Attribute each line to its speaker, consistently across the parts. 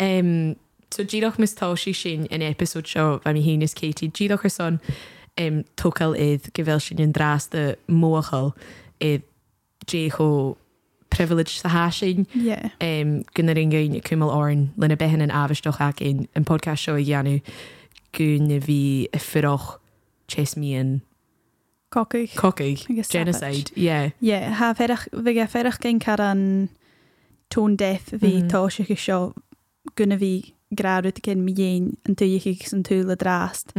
Speaker 1: Um, so díadch mis táí sin in episód seo bheit mi hínas Katie díadch ar son um, tócail iad go bhfuil sin an drás de móchail iad décho privilege sa há sin
Speaker 2: Yeah.
Speaker 1: um, gynnar ringain cumil orin lena behan an afistoch ac in yn podcast seo i ddianw gwn fi y ffyroch chesmian
Speaker 2: Cocu.
Speaker 1: cocu
Speaker 2: Agus
Speaker 1: genocide yeah
Speaker 2: Yeah, ha ferach, fi ga ferach gen car an tone death fi
Speaker 1: Mhm.
Speaker 2: mm. tosig i sio gynna fi grawyd gen mi ein yn tu i'ch eich sy'n tŵl y drast.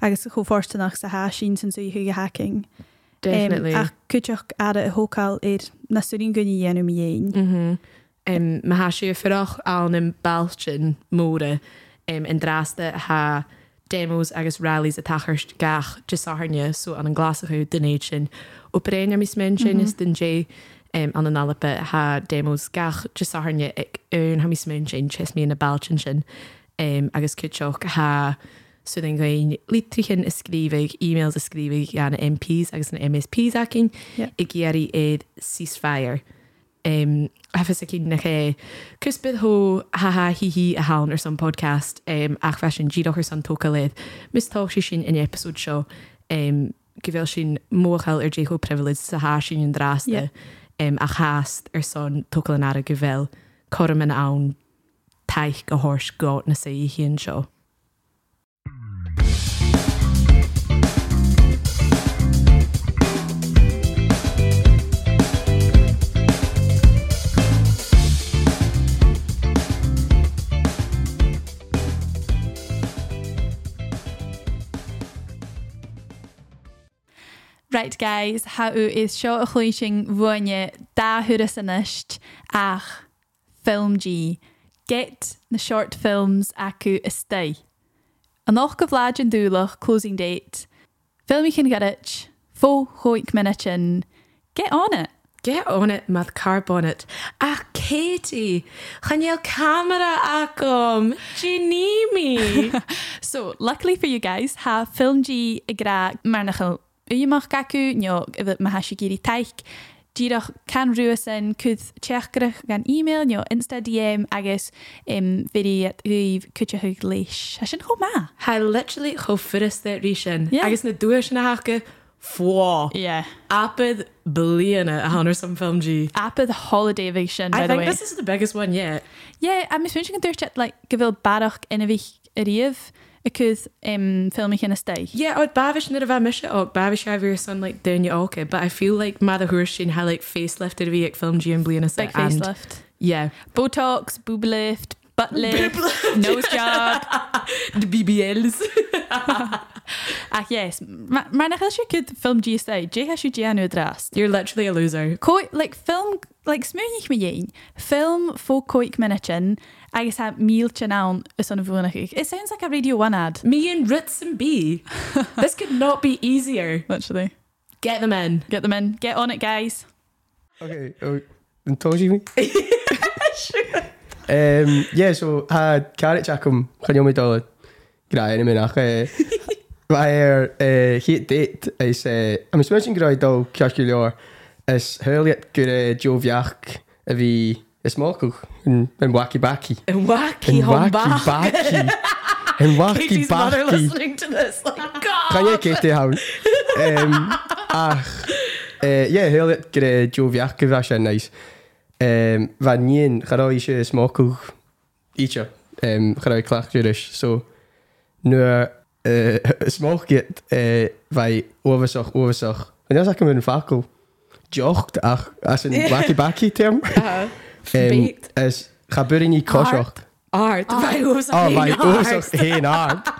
Speaker 2: Agus chw fforstynach sa ha sy'n sy'n tu i'ch eich hacking.
Speaker 1: definitely
Speaker 2: Um, ac cwtioch ar y hocal i'r naswrin gynnu i enw mi ein.
Speaker 1: Mhm. Um, Mae ha si y ffyroch awn yn balchin môra um, yn drasta ha demos agus rallies a tacharst gach jysarnia so an an glas o hw dyneud sin. O brein am is mynd sin is dyn jay um, an an alapa ha demos gach jysarnia ag yn ham is mynd sin chys mi yn y balchin sin um, agus cwtioch ha So then going litrichen ysgrifig, e-mails ysgrifig gan MPs agus an MSPs ac un
Speaker 2: Yeah.
Speaker 1: i geri edd ceasefire. Um, Hefys ac un na lle, cys bydd ho ha ha hi hi a hawn ar son podcast um, ac fe sy'n giroch ar son tocaledd. Mis tol si sy'n yn episod sio um, gyfel sy'n mochel ar jeho privilege sa ha sy'n yn drast
Speaker 2: Yeah.
Speaker 1: yeah. um, a chast ar son tocalen ar y gyfel corym yn awn taich gyhors got na sy i hi yn sio.
Speaker 2: Right guys, ha yw is sio y chlwyn sy'n fwynia da hwyrus yn ysht ach film G. Get na short films acw ystau. An och gyflad yn dŵlach closing date. Film i chi'n gyrrych, fo hoic minute yn. Get on it.
Speaker 1: Get on it, mad car bonnet. A Katie, chan iel camera agom. Gini mi.
Speaker 2: So, luckily for you guys, ha film G i gra marnachel uymach gacu niog i fyd mahashi giri taich. Dirach can rhywys yn cwyd tiachgrach gan e-mail nio Insta DM agos um, fyddi at hwyf cwtio hwyg leis. A sy'n chw ma?
Speaker 1: Ha literally cho ffyrus that rysyn.
Speaker 2: Yeah.
Speaker 1: Agus na dwyr sy'n hachga. Fwa.
Speaker 2: Yeah.
Speaker 1: Apydd bliana a hanner some er film G.
Speaker 2: App of the holiday eviction, by
Speaker 1: I
Speaker 2: the
Speaker 1: think
Speaker 2: way.
Speaker 1: this is the biggest one yet.
Speaker 2: Yeah, I'm assuming you can do it like gyfil barach yn y fi yr iaf y cwyd um, ffilm i chi'n ystau.
Speaker 1: Yeah, I'd bavish nid of Oh, a misha og bavish have your son like down your okay, but I feel like mother Hurshin had like facelifted vi at film G and bliana
Speaker 2: Big
Speaker 1: set and-
Speaker 2: facelift.
Speaker 1: Yeah.
Speaker 2: Botox, boob lift, butt lift, nose job.
Speaker 1: The BBLs.
Speaker 2: Ac yes, mae'n achos eisiau cyd ffilm GSA, Jake eisiau Gia nhw drast.
Speaker 1: You're literally a loser.
Speaker 2: Co, like, ffilm, like, smwynych mi ein, ffilm ffo coic menachin, agos ha mil chan awn ys o'n fwy'n eich. It sounds like a Radio 1 ad.
Speaker 1: Me and Ritz and B. this could not be easier.
Speaker 2: Literally.
Speaker 1: Get them in.
Speaker 2: Get them in. Get on it, guys.
Speaker 3: Okay, oh, yn tos i mi? um, yeah, so, ha, carrot chacum, chan i'n mynd o graen yn mynd ach. Mae'r hit uh, date is, uh, am ysmwys yn graen dal casgu lior, is hyrliat gyda uh, Joe Fiach a fi ysmolcwch yn yn wacky backy.
Speaker 1: And wacky
Speaker 3: Yn
Speaker 1: home
Speaker 3: wacky
Speaker 1: back.
Speaker 3: backy. Yn wacky
Speaker 1: Katie's mother
Speaker 3: backy.
Speaker 1: listening to this. Like,
Speaker 3: Kan
Speaker 1: God.
Speaker 3: jij Katie houden? Ehm ach, eh, ja, heel het gre Joviak was en nice. Ehm van nien garoi je smokkel ietsje. Ehm garoi klacht je dus zo. Nu eh smokket eh wij overzag overzag. En dan zag ik hem in een fakkel. Jocht ach, als een bakkie bakkie term.
Speaker 1: Uh,
Speaker 3: Ehm
Speaker 1: Beet.
Speaker 3: is gebeurt niet kosocht.
Speaker 1: Art. Vai oes
Speaker 3: Oh, my
Speaker 1: art.
Speaker 3: oorzacht geen hard.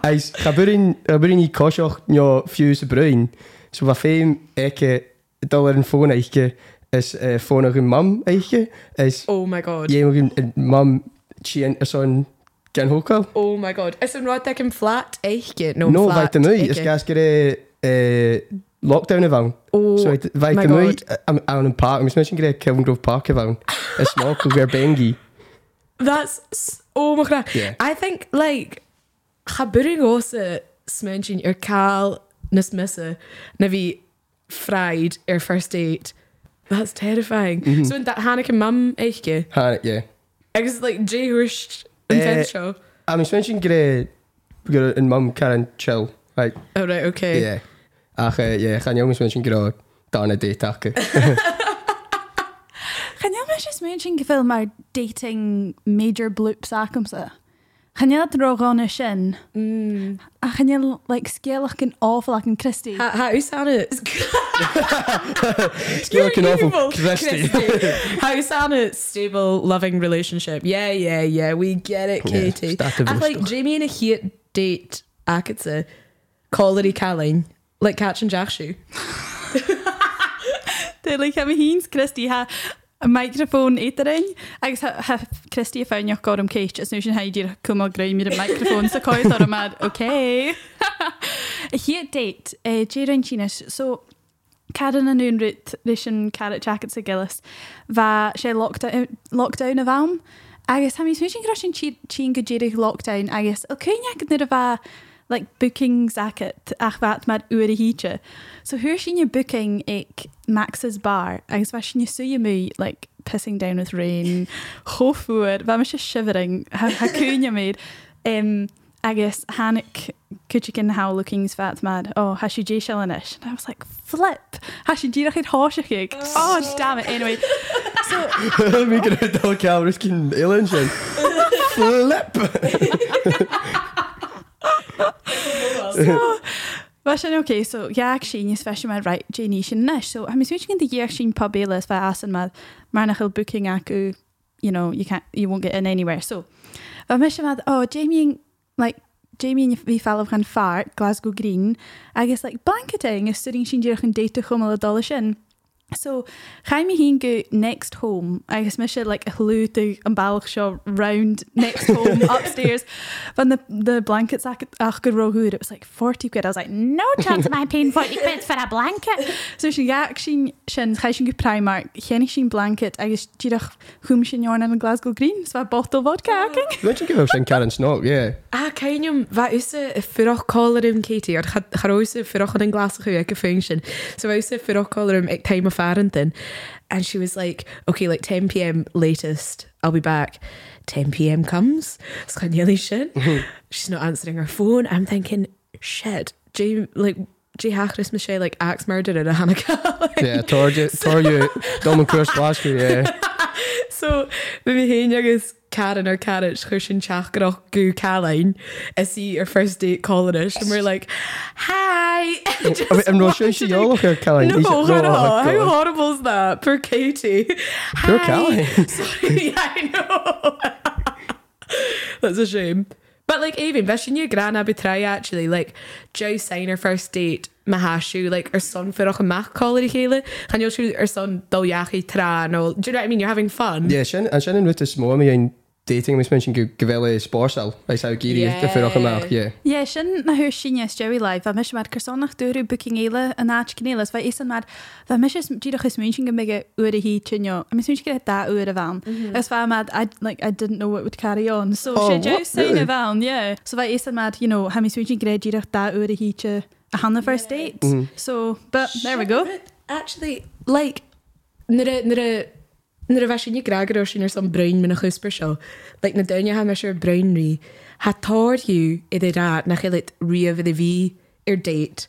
Speaker 3: Hij is gebeurd in die kosjoch ja fuse bruin. Zo wat veel ik dat er een phone eigen is eh, voor nog een mam eigen is
Speaker 1: Oh my god.
Speaker 3: jij nog een- een mam chien zo'n kan ook al.
Speaker 1: Oh my god. Is een rod in flat? Eichke. No,
Speaker 3: No, wij
Speaker 1: flat.
Speaker 3: te mij is
Speaker 1: eichke.
Speaker 3: gas keer eh, lockdown ervan.
Speaker 1: Oh,
Speaker 3: Zo wij- wij
Speaker 1: my
Speaker 3: te mij
Speaker 1: God.
Speaker 3: aan- aan een park. Misschien misschien krijg ik Kelvin Grove Park ervan. Is nog weer bengi.
Speaker 1: That's s- oh my god.
Speaker 3: Yeah.
Speaker 1: I think like habering os smenshin your cal nas missa navi fried your first date. That's
Speaker 3: Mhm.
Speaker 1: terrifying. So in that Hanukkah mum eichke.
Speaker 3: Ha, ja.
Speaker 1: I guess like Jay Hurst Yn
Speaker 3: Eh,
Speaker 1: fen seo.
Speaker 3: A mi smen sy'n gyda gyda yn mam Karen Chill. Like,
Speaker 1: O, Oh, right, okay.
Speaker 3: ie. Ach, eh, ie, chan iawn mi smen sy'n gyda dan y date ac.
Speaker 2: Gaan jij me eens mention gefilm maar dating major bloops aankomsten? Gaan jij dat er ook aan een shin?
Speaker 1: Mm.
Speaker 2: En gaan jij like skelig en awful like een Christie?
Speaker 1: Ha, ha, who's on it?
Speaker 3: Sgil ac yn awful.
Speaker 1: evil,
Speaker 3: Christy.
Speaker 1: How sound a stable, loving relationship. Yeah, yeah, yeah. We get it,
Speaker 3: Yeah,
Speaker 1: Katie.
Speaker 3: start to
Speaker 1: I
Speaker 3: boost
Speaker 1: like Jamie and a heat date. I could say, call it a calling, like catch and jashu.
Speaker 2: Tuurlijk hebben we geen Christie ha een microfoon eterin. Ik heb Christie van jou gekomen kees. Dus nu zijn hij hier komen grij met een microfoon. Zo kan je daar maar oké. Hier er date. Jaren Chinas. Zo. Karen en hun route Russian carrot jackets en gillis. Waar ze lockdown lockdown of aan. Agus ha mis mishin grashin chin gajirig lockdown. Agus okay yak nid ava like booking zacket ach wat mad ure hiche. So who is your booking ik Max's bar? Agus was you so you me like pissing down with rain. Hofuer, wa mis shivering. Ha ha kunya made. Um agus Hannick Kuchikin how looking's fat mad. Oh, has she J Shellenish? And I was like, flip. Has she Jirachid Hoshikig? Oh, damn it. Anyway, so
Speaker 3: Mi gyda dal cael rys cyn Elin sy'n. Flip.
Speaker 2: so, well, so, okay, so yeah, Sheen is fishing my right Janie Sheen nish. So I'm switching the year Sheen pub bailiff by Asin Mad Marnachil booking Aku, you know, you can't you won't get in anywhere. So I'm wishing mad oh Jamie and- like Jamie and we fellow can fart, Glasgow Green. I guess like blanketing is studying Sheen Jirach and date to come a dollish in. So Jaime Heen go next home. I guess Misha like a hello to Umbalach Shaw round next home upstairs. When the the blankets ach go rogur, it was like forty quid. I was like, no chance am I paying forty quid for a blanket. So she got sin sin chai sin go Primark, chénig sin blanket agus tíach chum sin jorn an Glasgow Green, so a bottle vodka aking.
Speaker 3: Mi'n sy'n gyda sy'n Karen Snog, ie.
Speaker 1: Ah, Kainium, that is a furroch collar in Katie, or Harosa furroch in glass of a function. So I was a furroch collar him at time of Farrington. And she was like, okay, like 10 p.m. latest, I'll be back. 10 p.m. comes, it's kind of shit. She's not answering her phone. I'm thinking, shit, Jay, like, Jay Hackris Michelle, like, axe murder in a Hanukkah. like,
Speaker 3: Ie, tor you, dom yn cwrs glas fi, ie.
Speaker 1: So, mae mi hyn agos Karen or Karen chwrsyn chach gyda gw Caroline as he our first date calling us and we're like hi Just
Speaker 3: Oh, I'm not sure she
Speaker 1: wanted to-
Speaker 3: all look at Caroline.
Speaker 1: no, no, no, how horrible is that poor Katie
Speaker 3: Poor
Speaker 1: Hi.
Speaker 3: Caroline.
Speaker 1: sorry yeah, I know that's a shame but like even vision your gran abu try actually like Joe sign her first date Mahashu, like her son for a mach collar Kayla, and you'll shoot her son Dolyachi Tra. No, do you know what I mean? You're having fun.
Speaker 3: Ie, sy'n yn rwyt ys mwy am i'n dating, mis mynd sy'n gyfelu sborsal, eis aw giri,
Speaker 1: Yeah.
Speaker 3: gyffyrwch yma, ie.
Speaker 2: Yeah, sin na hwyr sin yes Joey live. Fa mis mad cyrsonach dwyr booking eile yn ach gynelas. Fa eisan mad, fa mis ys dyrach ys mwyn sy'n gymig yw'r hi tynio. A mis mwyn sy'n gyda da yw'r y fawn. Ys fa mad, I, like, I didn't know what would carry on. So
Speaker 3: Mhm. Oh,
Speaker 2: oh, she Joe
Speaker 3: what?
Speaker 2: sain y
Speaker 3: Really?
Speaker 2: fawn, yeah. So fa eisan mad, you know, ha mis mwyn sy'n gyda dyrach da yw'r hi ty a han the first date. So, but there we go.
Speaker 1: But actually, like, nire, nire, nire was in je grager als je naar zo'n bruin met een gusper zo. Like, naar duin je hem als je bruin rie. Het toort je inderdaad, naar je het rie over de wie er date.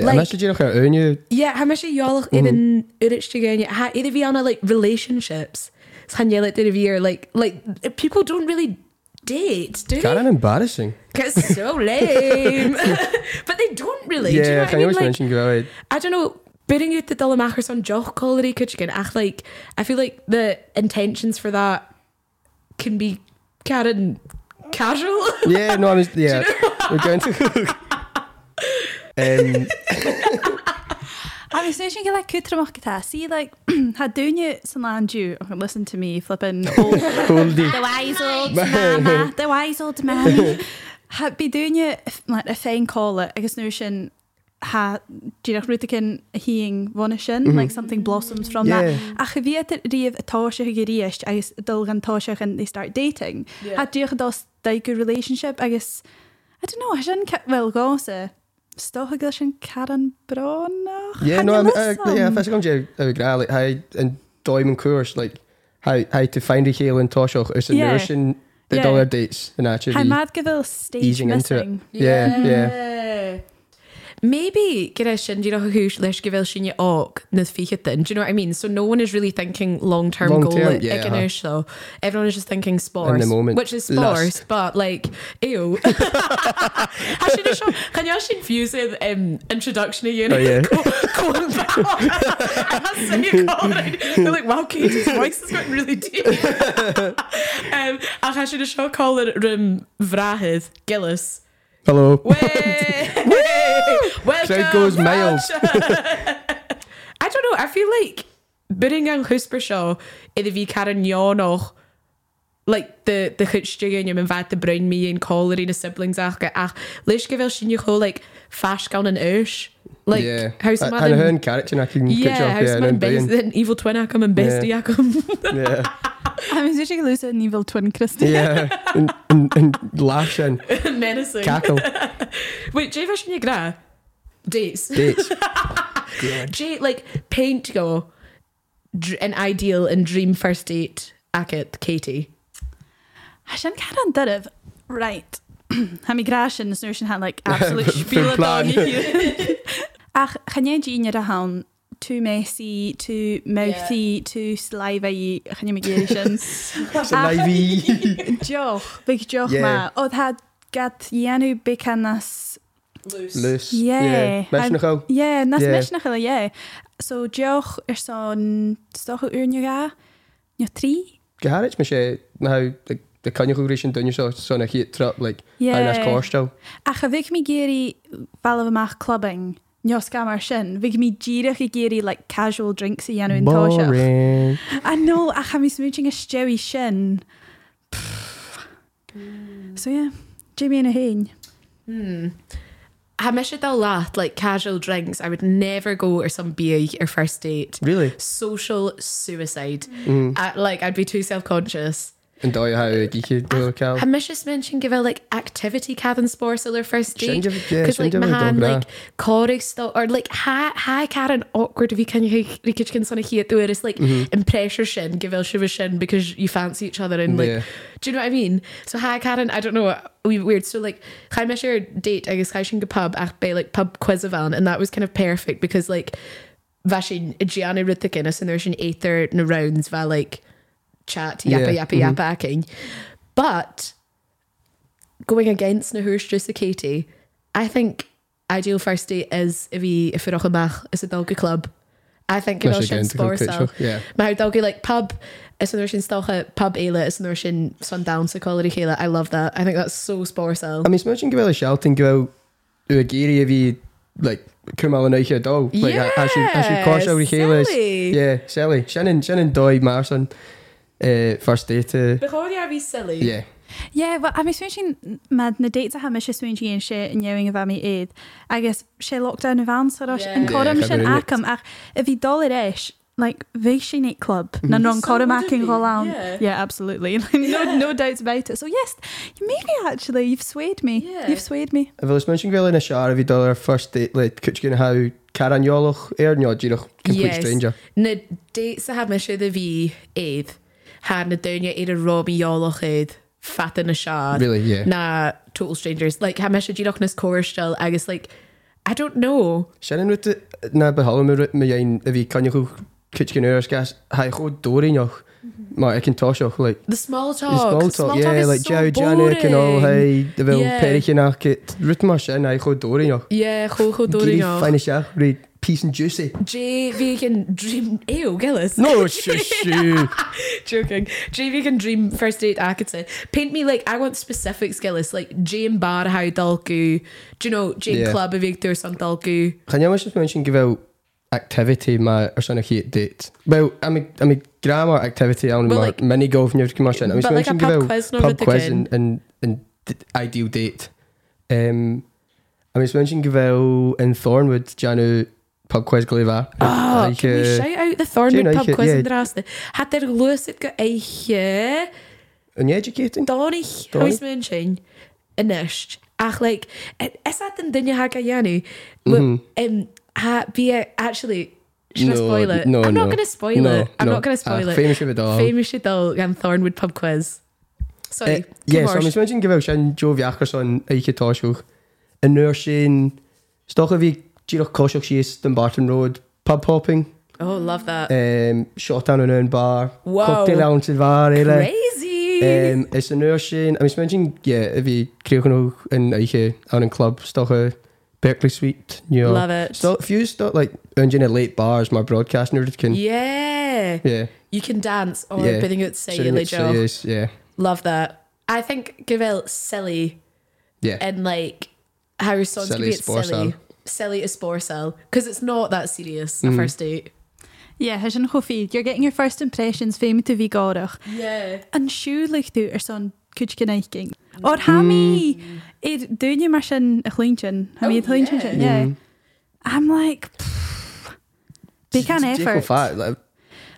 Speaker 3: A mes ydych chi'n ewn yw,
Speaker 1: Ja, hem als je jalig in een uurtje gaan. Je gaat ieder wie aan, like, relationships. Ze gaan je like, ieder wie er, like, like, people don't really date, do they?
Speaker 3: Karen embarrassing.
Speaker 1: It's so lame. but they don't really. do you know
Speaker 3: Ie,
Speaker 1: what I
Speaker 3: chan
Speaker 1: mean?
Speaker 3: iawn
Speaker 1: Like,
Speaker 3: mynd sy'n gyfelu.
Speaker 1: I don't know. Bidding out the Dullamachers on Joch Colliery Kitchen, I like I feel like the intentions for that can be carried casual.
Speaker 3: Ie, no, I'm, ie, we're going to cook. Um,
Speaker 2: I was saying like kutramach gyda. See, like, ha dwi'n you sy'n land you. Okay, Listen to me, flipping old
Speaker 3: Huldi.
Speaker 2: The wise old mama. The wise old mammy. Ha, be doing you like a fine call it. I guess no sin ha dyrach rwy'n heing fan y sin, like something blossoms from
Speaker 3: Mm-hmm. Yeah.
Speaker 2: that. A chyfi at rif y tosio chi gyrieisht, I guess dyl gan tosio and they start dating. Ha dyrach dos dau good relationship, I guess, I don't know, ha sin, ca- well, gosa, stoch a gael sin Karen Bronach?
Speaker 3: Yeah,
Speaker 2: Can
Speaker 3: no,
Speaker 2: you
Speaker 3: I'm, uh,
Speaker 2: listen?
Speaker 3: yeah, if I come to a guy like how and Diamond Course, like how how to find a heel in Toshoch is a
Speaker 2: Yeah.
Speaker 3: nourishing the
Speaker 2: Yeah.
Speaker 3: dollar dates and actually.
Speaker 2: Hi mad go bhfuil stage
Speaker 3: easing into it.
Speaker 2: missing.
Speaker 3: Yeah,
Speaker 1: yeah. Maybe gyda sin, do you know who leis gyfel sin i og na fiche din, do you know what I mean? So no one is really thinking long-term
Speaker 3: Long
Speaker 1: goal
Speaker 3: term,
Speaker 1: at
Speaker 3: yeah, Uh-huh.
Speaker 1: yeah, so everyone is just thinking sports,
Speaker 3: moment,
Speaker 1: which is sports,
Speaker 3: lust.
Speaker 1: but like, ew. I should have shown, can you actually infuse an um, introduction of you?
Speaker 3: Oh, yeah.
Speaker 1: Going back on. I must say you're calling. They're like, wow, Katie's voice has gotten really deep. um, ach, I should have shown Colin Rim um, Vrahes Gillis.
Speaker 3: Hello.
Speaker 1: Way! Welcome
Speaker 3: Crowd goes miles.
Speaker 1: I don't know. I feel like bidding an húsperseo i bhí caran neánach like the the chuteúin am an bheit de brein mí an choirí na siblings ach go ach leis go bhfuil sinne cho like fas gan an ús like
Speaker 3: yeah.
Speaker 1: how's
Speaker 3: I,
Speaker 1: the
Speaker 3: and her
Speaker 1: man
Speaker 3: in character, and I can catch
Speaker 1: yeah
Speaker 3: up
Speaker 1: how's
Speaker 3: yeah,
Speaker 1: the man
Speaker 3: and then
Speaker 1: based an evil twin ac am an bestie ac am
Speaker 3: Yeah.
Speaker 2: I was usually lose an evil twin, Christy.
Speaker 3: Yeah. And, and, and lash and
Speaker 1: menacing
Speaker 3: cackle.
Speaker 1: wait Jay sinne gra dates
Speaker 3: Dates.
Speaker 1: Jay, like paint go dr- an ideal and dream first date ac at Katie.
Speaker 2: I shan caran dyrif. Right. Ha mi grash yn ysnwyr sy'n han, like, absolute
Speaker 3: Full
Speaker 2: spiel o
Speaker 3: plan.
Speaker 2: dog i hwn. Ach, chanie gyn yr ahawn, too messy, too mouthy, too slivey, chanie mi gyr sy'n.
Speaker 3: Saliva.
Speaker 2: Diolch, big diolch
Speaker 3: Yeah.
Speaker 2: ma. Oedd ha gad ianw becanas
Speaker 3: Loose.
Speaker 2: Yeah.
Speaker 3: Mention of how.
Speaker 2: Ie, nas
Speaker 3: Ie.
Speaker 2: yeah. mysnach yla, ie. So, diolch yr son, stoch o yw'n yw ga? Nio tri?
Speaker 3: Garage Michelle, now the the conjugal relation done yourself so on a heat trap like
Speaker 2: Ie.
Speaker 3: and that's core still.
Speaker 2: A chyfig mi geri fel efo mach clubbing, nio scam ar sin, fig mi girach i geri, like, casual drinks i anw yn tosio.
Speaker 3: Boring.
Speaker 2: A no, a cha mi smooching y stew i sin. Pff. So, ie, yeah, Jamie yn y hyn.
Speaker 1: I miss it a lot, like casual drinks. I would never go or some beer or first date.
Speaker 3: Really?
Speaker 1: Social suicide. I, like I'd be too self conscious.
Speaker 3: And do you how you could do a cal?
Speaker 1: Ah, I miss just mention give out like activity cabin sports or their first date.
Speaker 3: Shouldn't give- yeah,
Speaker 1: Because like
Speaker 3: shouldn't give it a
Speaker 1: Mahan
Speaker 3: dog, nah.
Speaker 1: like Corey stuff or like hi hi Karen awkward if you can you can sort of hear it through it. It's like
Speaker 3: Mm-hmm.
Speaker 1: impressure shin give out shiva shin because you fancy each other and like
Speaker 3: Yeah.
Speaker 1: Do you know what I mean? So hi Karen, I don't know, we weird. So like hi my share date, I guess hi sin go pub ach be like pub quiz van and that was kind of perfect because like vashin Gianna Rithikinus and there's an ether na rounds va like chat yappa
Speaker 3: Yeah, Mm-hmm.
Speaker 1: yappa yappa acking. But going against Nahursh Drusa Katie, I think ideal first date is if we if we're mach is a doggy club. I think it all
Speaker 3: That's
Speaker 1: should
Speaker 3: again to
Speaker 1: spore
Speaker 3: complete
Speaker 1: so.
Speaker 3: shock, yeah.
Speaker 1: Mae doggy like pub is an ocean stalker pub Ayla is an ocean sundown so quality Kayla. I love that. I think that's so spore so.
Speaker 3: I mean, imagine give out a shout and go out to a geary if you like come out and out here dog. Like I should I should course out here.
Speaker 1: silly.
Speaker 3: Yeah, Sally. Shannon Shannon Doy Marson. Uh, first day to
Speaker 1: Before they are be silly.
Speaker 3: yeah.
Speaker 2: Yeah, well, I'm switching mad na dates a ha mis swingy and shit and yowing of ami aid. I guess she lockdown of van so rush and
Speaker 1: Yeah.
Speaker 2: corum
Speaker 3: Yeah,
Speaker 2: shin
Speaker 3: kind of
Speaker 2: acum ach if he dollar ish like Vichy nightclub na non corum
Speaker 1: Mm-hmm. would it
Speaker 2: acum
Speaker 1: be,
Speaker 2: all out.
Speaker 1: yeah.
Speaker 2: yeah, absolutely. Like, no, no doubts about it. So yes, maybe actually you've swayed me.
Speaker 1: Yeah.
Speaker 2: You've swayed me.
Speaker 3: If I was mentioning well in a shower if you do our first date like could you know how Karen Yoloch air no you know complete
Speaker 1: Yes.
Speaker 3: stranger.
Speaker 1: Na dates a ha mis the V eighth. Ha na dunya id a Robbie Yoloch id. Fat in a shard.
Speaker 3: Really, yeah.
Speaker 1: Na total strangers. Like ha mis you this chorus still. I guess like I don't know.
Speaker 3: Shannon with the na behallen met me een if you can you could you know gas hi go door in joch.
Speaker 1: Mhm.
Speaker 3: Maar ik kan toch ook like
Speaker 1: The small talk.
Speaker 3: Is ball talk, yeah,
Speaker 1: is
Speaker 3: like
Speaker 1: so
Speaker 3: Joe Janek and
Speaker 1: boring.
Speaker 3: all, hey, the little
Speaker 1: Yeah.
Speaker 3: perichyn ac it, rwyt ma sy'n ei chod dori nhw.
Speaker 1: Yeah, go go door
Speaker 3: Giri
Speaker 1: in.
Speaker 3: ffain eisiau, rwy peace and juicy.
Speaker 1: Jay Vegan Dream Ew, Gillis.
Speaker 3: No, shoo, shoo.
Speaker 1: Joking. Jay Vegan Dream First Date I could say. Paint me like I want specifics, Gillis, like Jay and Bar How Dalku. Do you know Jay
Speaker 3: Yeah.
Speaker 1: yeah. Club of Victor San Dalku?
Speaker 3: Can you just mention give out activity ma or son of heat date? Well, I mean, I mean, grammar activity, I
Speaker 1: But
Speaker 3: mean,
Speaker 1: like-
Speaker 3: like, mini golf and everything, I mean,
Speaker 1: but like a
Speaker 3: mention give
Speaker 1: pub
Speaker 3: out
Speaker 1: quiz, no,
Speaker 3: pub
Speaker 1: with the
Speaker 3: quiz
Speaker 1: kid.
Speaker 3: and, and, and d- ideal date. Um, I mean, mention give out in Thornwood, Janu, pub quiz, Glevar.
Speaker 1: Oh, like, can we
Speaker 3: uh,
Speaker 1: shout out the
Speaker 3: Jane
Speaker 1: Thornwood Pub
Speaker 3: Eiche,
Speaker 1: Quiz
Speaker 3: yeah.
Speaker 1: in Draste? Had their Lewis it eh, got a here.
Speaker 3: and you educating?
Speaker 1: Donny,
Speaker 3: Donnaigh?
Speaker 1: how's moon shine? Anish. Ach, like, it- is that the Dinya Hagayanu? Um, ha, be it, actually, should I
Speaker 3: Mm-hmm. No,
Speaker 1: spoil it?
Speaker 3: no,
Speaker 1: I'm not
Speaker 3: no.
Speaker 1: going to spoil
Speaker 3: No,
Speaker 1: it. I'm
Speaker 3: no.
Speaker 1: not going
Speaker 3: Ah,
Speaker 1: to spoil it.
Speaker 3: famous with it all.
Speaker 1: Famous with all and Thornwood pub quiz. Sorry.
Speaker 3: Ie, Eh, so mis mynd i'n gyfew sy'n jo fi achos o'n eich y tosiwch. Yn nwyr sy'n... Stoch o fi gyrwch cosiwch sy'n dyn Barton Road, pub hopping,
Speaker 1: Oh, love that.
Speaker 3: um, shot down yn yn bar,
Speaker 1: Wow.
Speaker 3: cocktail lounge yn far, eile.
Speaker 1: Crazy.
Speaker 3: Um, is yn nwyr sy'n... A mis mynd i'n... Ie, y fi creuwch nhw yn eich y... Awn yn club, stoch o Berkeley Suite, New York.
Speaker 1: Love it.
Speaker 3: So, if you start, like, engine at late bars, my broadcast nerd can...
Speaker 1: Yeah.
Speaker 3: Yeah.
Speaker 1: You can dance or
Speaker 3: Yeah.
Speaker 1: bydding out say
Speaker 3: Sitting
Speaker 1: silly
Speaker 3: at
Speaker 1: job.
Speaker 3: Sayers, Yeah.
Speaker 1: Love that. I think Gavel silly
Speaker 3: Yeah.
Speaker 1: and like Harry Stone's
Speaker 3: Silly
Speaker 1: silly be
Speaker 3: spore
Speaker 1: silly.
Speaker 3: cell.
Speaker 1: Silly is spore cell. Because it's not that serious, a
Speaker 3: Mm.
Speaker 1: first date.
Speaker 2: Yeah, hys yn chwffi. You're getting your first impressions fe mi to fi gorach.
Speaker 1: Yeah.
Speaker 2: Yn siŵr tú ar son cwyd gynnaicing. O'r hami, er dwi'n yma sy'n y chlwyntyn. Hami
Speaker 1: Mm. Oh,
Speaker 2: y chlwyntyn
Speaker 1: yeah.
Speaker 2: sy'n, yeah. I'm like, pfft, big an
Speaker 3: Take a
Speaker 2: effort.
Speaker 3: fat, like,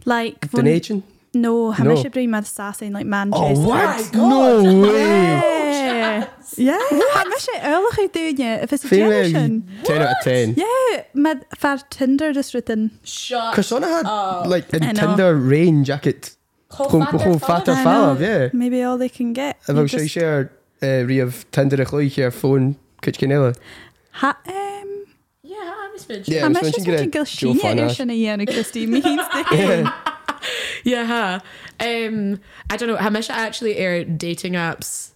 Speaker 2: Like, fwn-
Speaker 3: Donation?
Speaker 2: no, ham
Speaker 3: No. Oh,
Speaker 2: eisiau brwy mad assassin, like Manchester.
Speaker 1: Oh God.
Speaker 3: No way!
Speaker 2: Yeah. Yeah, ham eisiau ylwch i dwi'n if it's a
Speaker 3: Female,
Speaker 2: generation.
Speaker 3: 10 out of 10.
Speaker 2: Yeah, mad far Tinder just written.
Speaker 1: Shut
Speaker 3: Chrisona had
Speaker 1: Oh.
Speaker 3: like a
Speaker 2: I know.
Speaker 3: Tinder rain jacket. Home fatter
Speaker 2: I know.
Speaker 3: fallab, yeah.
Speaker 2: Maybe all they can get.
Speaker 3: If I was to share re of Tinder a chlwy here phone Kitchenella.
Speaker 2: Ha, um,
Speaker 1: Yeah, I'm just
Speaker 3: Yeah,
Speaker 2: I'm
Speaker 3: was
Speaker 2: just
Speaker 3: mentioning gyda
Speaker 2: watching Gil
Speaker 3: Joe
Speaker 2: Sheeny
Speaker 3: Fannas.
Speaker 2: Irish yn ei enw Christy means
Speaker 3: Yeah.
Speaker 1: Yeah. huh. Um, I don't know. How much I actually air dating apps,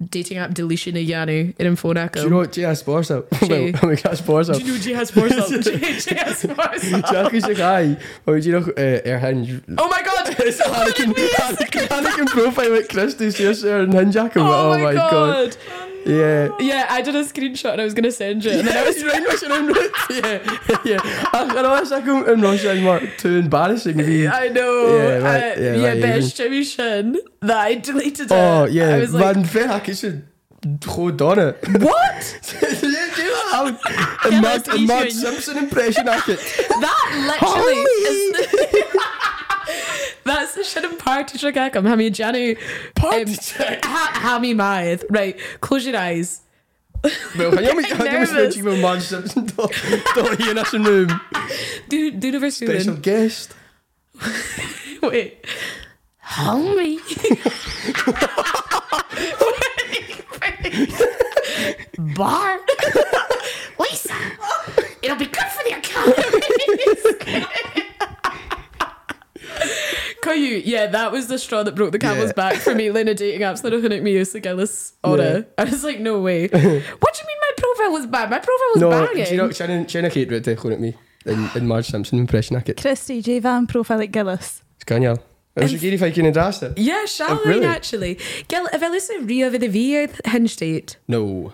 Speaker 1: dating app deletion of Yanu in
Speaker 3: Do you know
Speaker 1: Infonacom.
Speaker 3: what GS bars up?
Speaker 1: True.
Speaker 3: Well, we got bars up.
Speaker 1: Do you know GS Borsal? GS Borsal.
Speaker 3: Jack is a guy. Oh, do you know Air Hinge?
Speaker 1: Oh my god! It's
Speaker 3: Anakin, Anakin, Anakin profile with Christy shares her and Hinge Jack.
Speaker 1: Oh, my god.
Speaker 3: Yeah.
Speaker 1: Yeah, I did a screenshot and I was gonna send you. And then I was
Speaker 3: right rushing in Yeah, yeah. Ach, ar ôl eisiau gwm yn rushing yn mar, too embarrassing fi.
Speaker 1: I know.
Speaker 3: Yeah, right,
Speaker 1: uh,
Speaker 3: yeah,
Speaker 1: yeah,
Speaker 3: right,
Speaker 1: Besh
Speaker 3: even-
Speaker 1: Jimmy Shin that I deleted it.
Speaker 3: Oh, yeah,
Speaker 1: I was like,
Speaker 3: man, fair hack, eisiau chod on it.
Speaker 1: what?
Speaker 3: A Mad, a Mad Simpson impression ac it.
Speaker 1: That literally is. That's the shit and party trick I come. Hammy Janu.
Speaker 3: Party check.
Speaker 1: Ha- hammy Myth. Right, close your eyes.
Speaker 3: Wel, gan iawn, gan iawn,
Speaker 1: nervous.
Speaker 3: sy'n ti'n mewn Mad Simpson do, do hi yn asyn nhw'n
Speaker 1: Do, do never
Speaker 3: special
Speaker 1: soon.
Speaker 3: guest.
Speaker 1: Wait. Homie. Bart. Lisa. It'll be good for the calories. Caillou, yeah, that was the straw that broke the camel's
Speaker 3: Yeah.
Speaker 1: back for me. Lena dating apps that are looking at me as the gillis order. I was like, no way. what do you mean my profile was bad? My profile was
Speaker 3: No, do
Speaker 1: banging.
Speaker 3: you know, Shannon, Shannon Kate wrote it, chwn at me, yn, yn Mad Simpson impression ac it.
Speaker 2: Christy, J Van profile at Gillis.
Speaker 3: Gan iawn. Ys y gyd i ffai cyn yn drast it?
Speaker 1: Yeah, shall
Speaker 3: Oh, really?
Speaker 1: actually? Gil, if I listen to Rio over the V hinge date,
Speaker 3: No.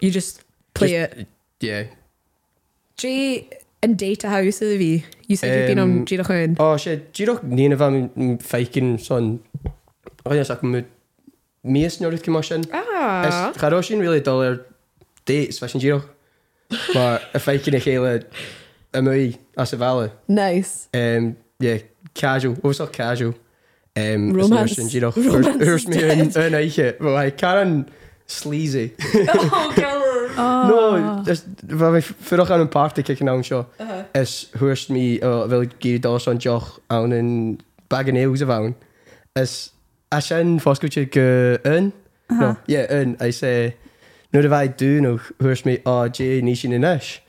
Speaker 1: you just play
Speaker 3: Just-
Speaker 1: it.
Speaker 3: Yeah.
Speaker 1: Jay and Data House of the V. You said you've been on
Speaker 3: Um,
Speaker 1: Jada Hound.
Speaker 3: O, se, gyrwch ni'n efo am ffeicin son... Oedden i'n sacw mi ys newid cymwys yn.
Speaker 1: Ah.
Speaker 3: Charo sy'n rili dol ar dates, fe sy'n gyrwch. Mae y ffeicin eich eile ymwy a sefalu.
Speaker 1: Nice.
Speaker 3: Um, yeah, casual, overall casual. Um,
Speaker 1: Romance-
Speaker 3: Sy'n gyrwch.
Speaker 1: romance is
Speaker 3: Wrs mi yn yn eiche. Mae Karen sleazy.
Speaker 1: oh, girl.
Speaker 2: Oh, Uh-huh.
Speaker 3: No, just fe mi ffyrwch ar yn party cicin awn sio. Ys hwrs mi o fel gyd dos o'n joch awn yn bag yn ews o fawn. Ys a sy'n ffosgw ti gy yn?
Speaker 2: Uh-huh.
Speaker 3: No, ie, yn. A i se, nŵr y fai dŵn o hwrs mi o je nis yn yn ys.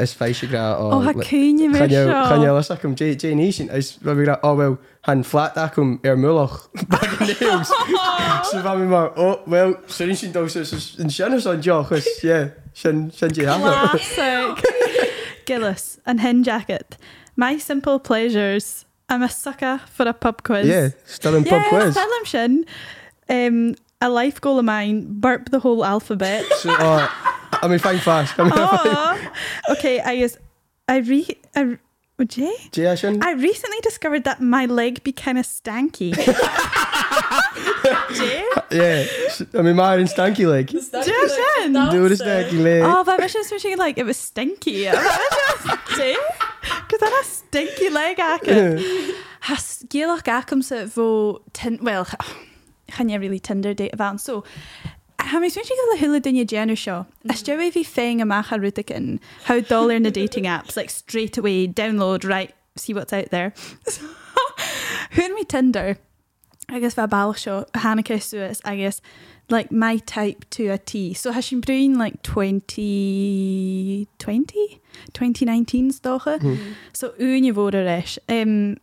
Speaker 3: Ys fai si gra o...
Speaker 2: oh, ha cyn i mi sio.
Speaker 3: Chanel ys acwm je je nis yn. Ys fe mi gra, o wel, han flat acwm er mwloch bag yn ews. So fe mi mor, o, wel, sy'n un sy'n dos yn sy'n os o'n joch. Ys, ie, sy'n sy'n je hafo.
Speaker 2: Classic. Gillis and hen jacket. My simple pleasures. I'm a sucker for a pub quiz.
Speaker 3: Yeah, still in pub
Speaker 2: yeah,
Speaker 3: quiz.
Speaker 2: tell him Shin. Um, a life goal of mine: burp the whole alphabet.
Speaker 3: So, uh, I mean, fine fast. I mean,
Speaker 2: oh, okay. I is. I re. I. Would you?
Speaker 3: Jason.
Speaker 2: I recently discovered that my leg be kind of stanky. Jay?
Speaker 3: Yeah, s- I mean, Myron Stanky leg. Do the stanky leg.
Speaker 2: Oh, but I wish I was wishing like it was stinky. Because I had a stinky leg acid. Has Gaelic acumsa vo tin well can you really Tinder date about so ha mi switching the hula dunya genu show. A stewy fi fang a macha rutikin. How dollar in the dating apps, like straight away, download, right, see what's out there. So, who in me Tinder? agus bheit bail seo Hannacha suas agus like my type to a T. So has sin brein like 2020 2019s docha. So úne bhór éis. Um,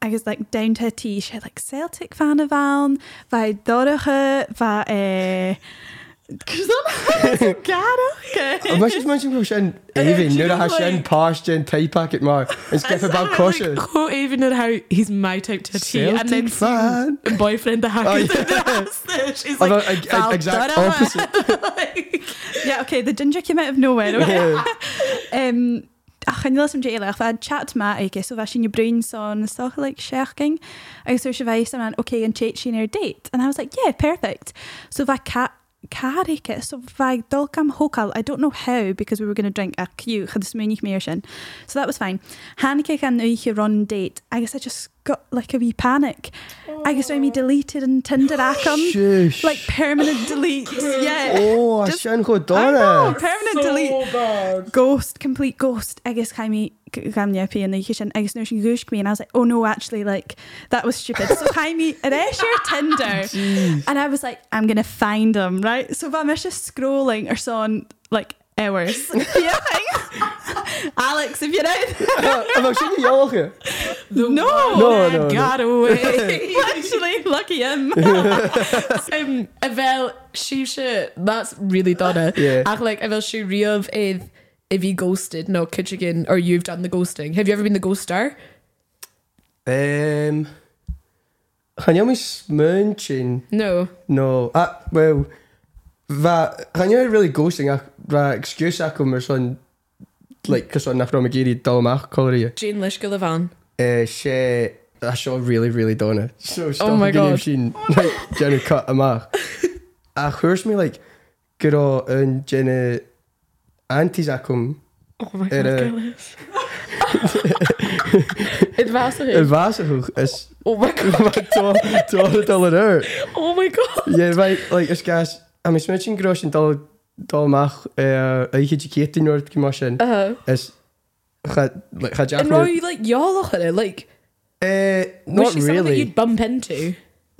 Speaker 2: agus like, downta tí sé like, Celtic fan a bhain, bheit doracha eh, bheit
Speaker 3: Ond mae eisiau mynd i'n gwybod sy'n efin, nid o'ch sy'n past yn pay packet mar. Yn sgeffa bal cwysyn.
Speaker 1: Who even know how he's my type to tea and then
Speaker 3: Celtic fan.
Speaker 1: some boyfriend the hacker
Speaker 3: Oh,
Speaker 1: oh,
Speaker 3: yeah.
Speaker 1: yeah. She's
Speaker 3: Although,
Speaker 1: like,
Speaker 3: ag-
Speaker 1: "Val
Speaker 3: ag- exact
Speaker 1: Donovan."
Speaker 3: opposite.
Speaker 1: Like,
Speaker 2: Yeah, okay, the ginger came out of nowhere. Okay.
Speaker 3: Yeah.
Speaker 2: um, ach, yn ddysg am jay lech, fe chat ma i gys, o fe sy'n yw bryn son, stoch like shaking. I was sure advice and okay, and chat she our date. And I was like, yeah, perfect. So fe cat carry it. So fe dolcam hokal, I don't know how, because we were going to drink a cue, chyd smwynich meir sin. So that was fine. Hanukkah can now you run date. I guess I just got like a wee panic. I guess when we deleted and Tinder acum.
Speaker 3: Shush.
Speaker 2: Um, Like permanent delete. Yeah.
Speaker 3: O, a e.
Speaker 2: Just-
Speaker 3: sy'n chwyd
Speaker 2: I know,
Speaker 3: dora.
Speaker 2: permanent delete. ghost, complete ghost. e- I guess Jaime Gamnepi and the kitchen. I guess no, she gooshed me, and I was like, oh no, actually, like that was stupid. So Jaime, there's your Tinder, and I was like, I'm gonna find him, right? So if I'm just scrolling or so on, like hours. yeah, thing. Alex, if you're out,
Speaker 3: Ond mae sy'n iolch e. i.
Speaker 1: the
Speaker 2: No.
Speaker 1: one
Speaker 3: No,
Speaker 1: that
Speaker 3: no, no.
Speaker 1: got away.
Speaker 2: actually, lucky him.
Speaker 1: um, I felt she should. That's really Donna.
Speaker 3: Yeah.
Speaker 1: Ach, like I felt she real of if if he ghosted, no kitchen or you've done the ghosting. Have you ever been the ghoster?
Speaker 3: Um, Chan iawn mi smynchyn.
Speaker 1: No.
Speaker 3: No. A, wel, fa, chan iawn really ghosting ac ra excuse ac o'n merson, like, cyson nach rhwm i gyd i dal amach colori.
Speaker 1: Jane Lishka Levan.
Speaker 3: Uh, she, I saw really, really done it. So stuff
Speaker 1: my
Speaker 3: again
Speaker 1: God.
Speaker 3: if she like Jenna cut him off. I heard me like good old and Jenna aunties I come
Speaker 1: Oh my
Speaker 3: Er,
Speaker 1: god,
Speaker 3: eh,
Speaker 1: Gillis. It was
Speaker 3: in
Speaker 1: it.
Speaker 3: Vasahug is
Speaker 1: Oh my god.
Speaker 3: to all the dollar out.
Speaker 1: Oh my god.
Speaker 3: Yeah, right, like this guy's I'm smashing gross and dollar dollar mach uh I get you kid in your commotion
Speaker 1: Uh-huh.
Speaker 3: is ga- like ga
Speaker 1: And were
Speaker 3: jag
Speaker 1: you like y'all look at it like
Speaker 3: Eh,
Speaker 1: was
Speaker 3: not
Speaker 1: she someone that
Speaker 3: really.
Speaker 1: you'd bump into?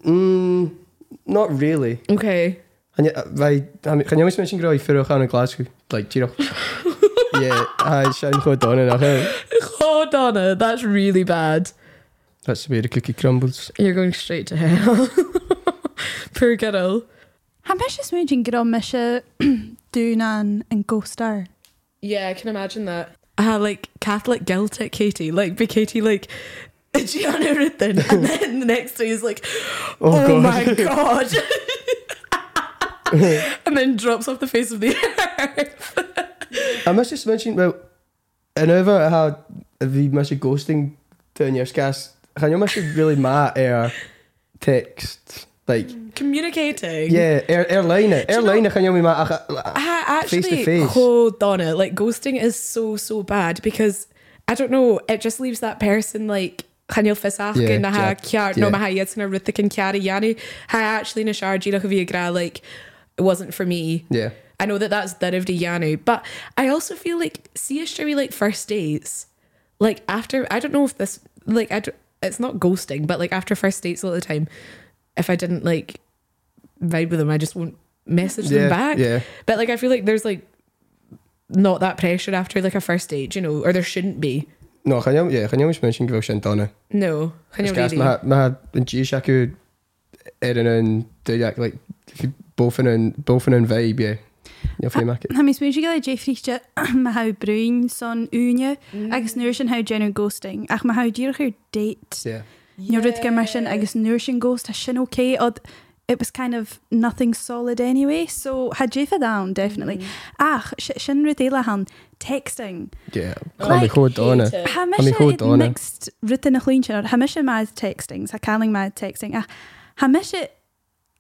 Speaker 3: Mm, not really.
Speaker 1: Okay.
Speaker 3: And yeah, wij, gaan jongens mensen groeien voor gaan naar Glasgow? Like, Giro. yeah, I shine goed on en dan.
Speaker 1: Oh Donna, that's really bad.
Speaker 3: That's where the cookie crumbles.
Speaker 1: You're going straight to hell. Poor girl.
Speaker 2: Ambitious Moojin get on Misha, Dunan, and Ghostar.
Speaker 1: Yeah, I can imagine that. Uh, like Catholic guilt at Katie. Like be Katie like Gianna Rithen. And then the next day is like,
Speaker 3: Oh,
Speaker 1: Oh,
Speaker 3: God.
Speaker 1: my god. and then drops off the face of the earth.
Speaker 3: I must just mention, well, en over how the message ghosting turn your scast. Gaan jongens really mad air text? Like,
Speaker 1: Mm. Communicating.
Speaker 3: yeah, air airline,
Speaker 1: you know-
Speaker 3: airline. Gaan jongens maar.
Speaker 1: I actually
Speaker 3: Face to face.
Speaker 1: hold on it. Like ghosting is so so bad because I don't know. It just leaves that person like. Chanil Fisach
Speaker 3: Yeah,
Speaker 1: yeah, na ha
Speaker 3: yeah,
Speaker 1: kiar no
Speaker 3: yeah.
Speaker 1: ma ha yet na rithik and kiari yani ha actually na sharji na gra like it wasn't for me.
Speaker 3: Yeah.
Speaker 1: I know that that's that of the Yanu, but I also feel like see a story like first dates, like after I don't know if this like I don't- it's not ghosting, but like after first dates a lot of the time, if I didn't like vibe with them, I just won't message them
Speaker 3: Yeah,
Speaker 1: back.
Speaker 3: yeah.
Speaker 1: But like I feel like there's like not that pressure after like a first date, you know, or there shouldn't be.
Speaker 3: No, gaan jongens, yeah, gaan jongens mensen groeien zijn dan.
Speaker 1: No, can you
Speaker 3: Scast
Speaker 1: really?
Speaker 3: maar maar een G-Shaku erin een direct like boven een boven een vibe yeah. Ja, vind je maak het.
Speaker 2: Ha mis mwyr gael Jeffrey mae hau brwyn son ŵnia agus nŵr sy'n hau gen ghosting ach mae hau dyrch i'r date
Speaker 3: Ja.
Speaker 2: Neu rwydd gymryd sy'n agus nŵr sy'n ghost a sy'n okay oedd it was kind of nothing solid anyway so had Jeffa down definitely ach sy- sy'n rwydd eila han texting
Speaker 3: Ja. Kom ik goed aan.
Speaker 2: ha
Speaker 3: Am i
Speaker 2: mis
Speaker 3: chud
Speaker 2: i'n
Speaker 3: dána.
Speaker 2: next rwydd yn y chlwyn sy'n ha mis i'n maith texting sa caling maith texting ach ha mis i'n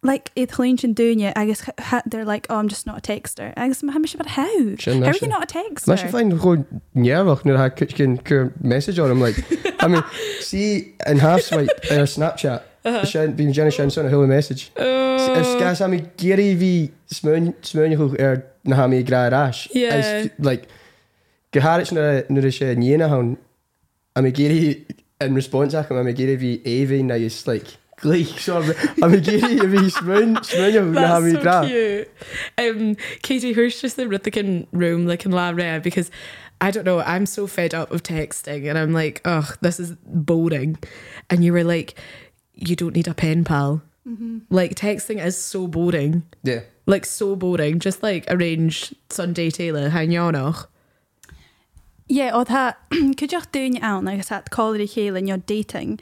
Speaker 2: like i'n chlwyn sy'n dŵnia agus ha- ha- they're like oh I'm just not a texter agus ha mis i'n bod how
Speaker 3: Sin
Speaker 2: How
Speaker 3: leis
Speaker 2: are you
Speaker 3: é.
Speaker 2: not a text?
Speaker 3: Maar je vindt gewoon nervig nu dat ik een keer message on him like I mean see in half swipe in a Snapchat.
Speaker 1: Uh-huh.
Speaker 3: Shan been Jenny Shan sent a whole message. If
Speaker 1: Oh.
Speaker 3: skas I mean Gary V smoon smoon hoe er na ha me gra rash.
Speaker 1: Yeah.
Speaker 3: Is, Like geharits na nu de shen yena hon. I mean Gary in response I come I mean Gary V Avy now is like Gleich, sorry. A mi giri, a mi smyn, smyn yw na mi
Speaker 1: That's
Speaker 3: bra.
Speaker 1: so cute. Um, Katie, who's just the Ruthican room, like in La Rea, because I don't know, I'm so fed up of texting and I'm like, ugh, this is boring. And you were like, you don't need a pen pal. Like, texting is so boring.
Speaker 3: Yeah.
Speaker 1: Like, so boring. Just like arrange Sunday Taylor, hang on. och.
Speaker 2: Ie, oedd ha, cydio'ch dyn awn, agos at colir i chael yn your dating,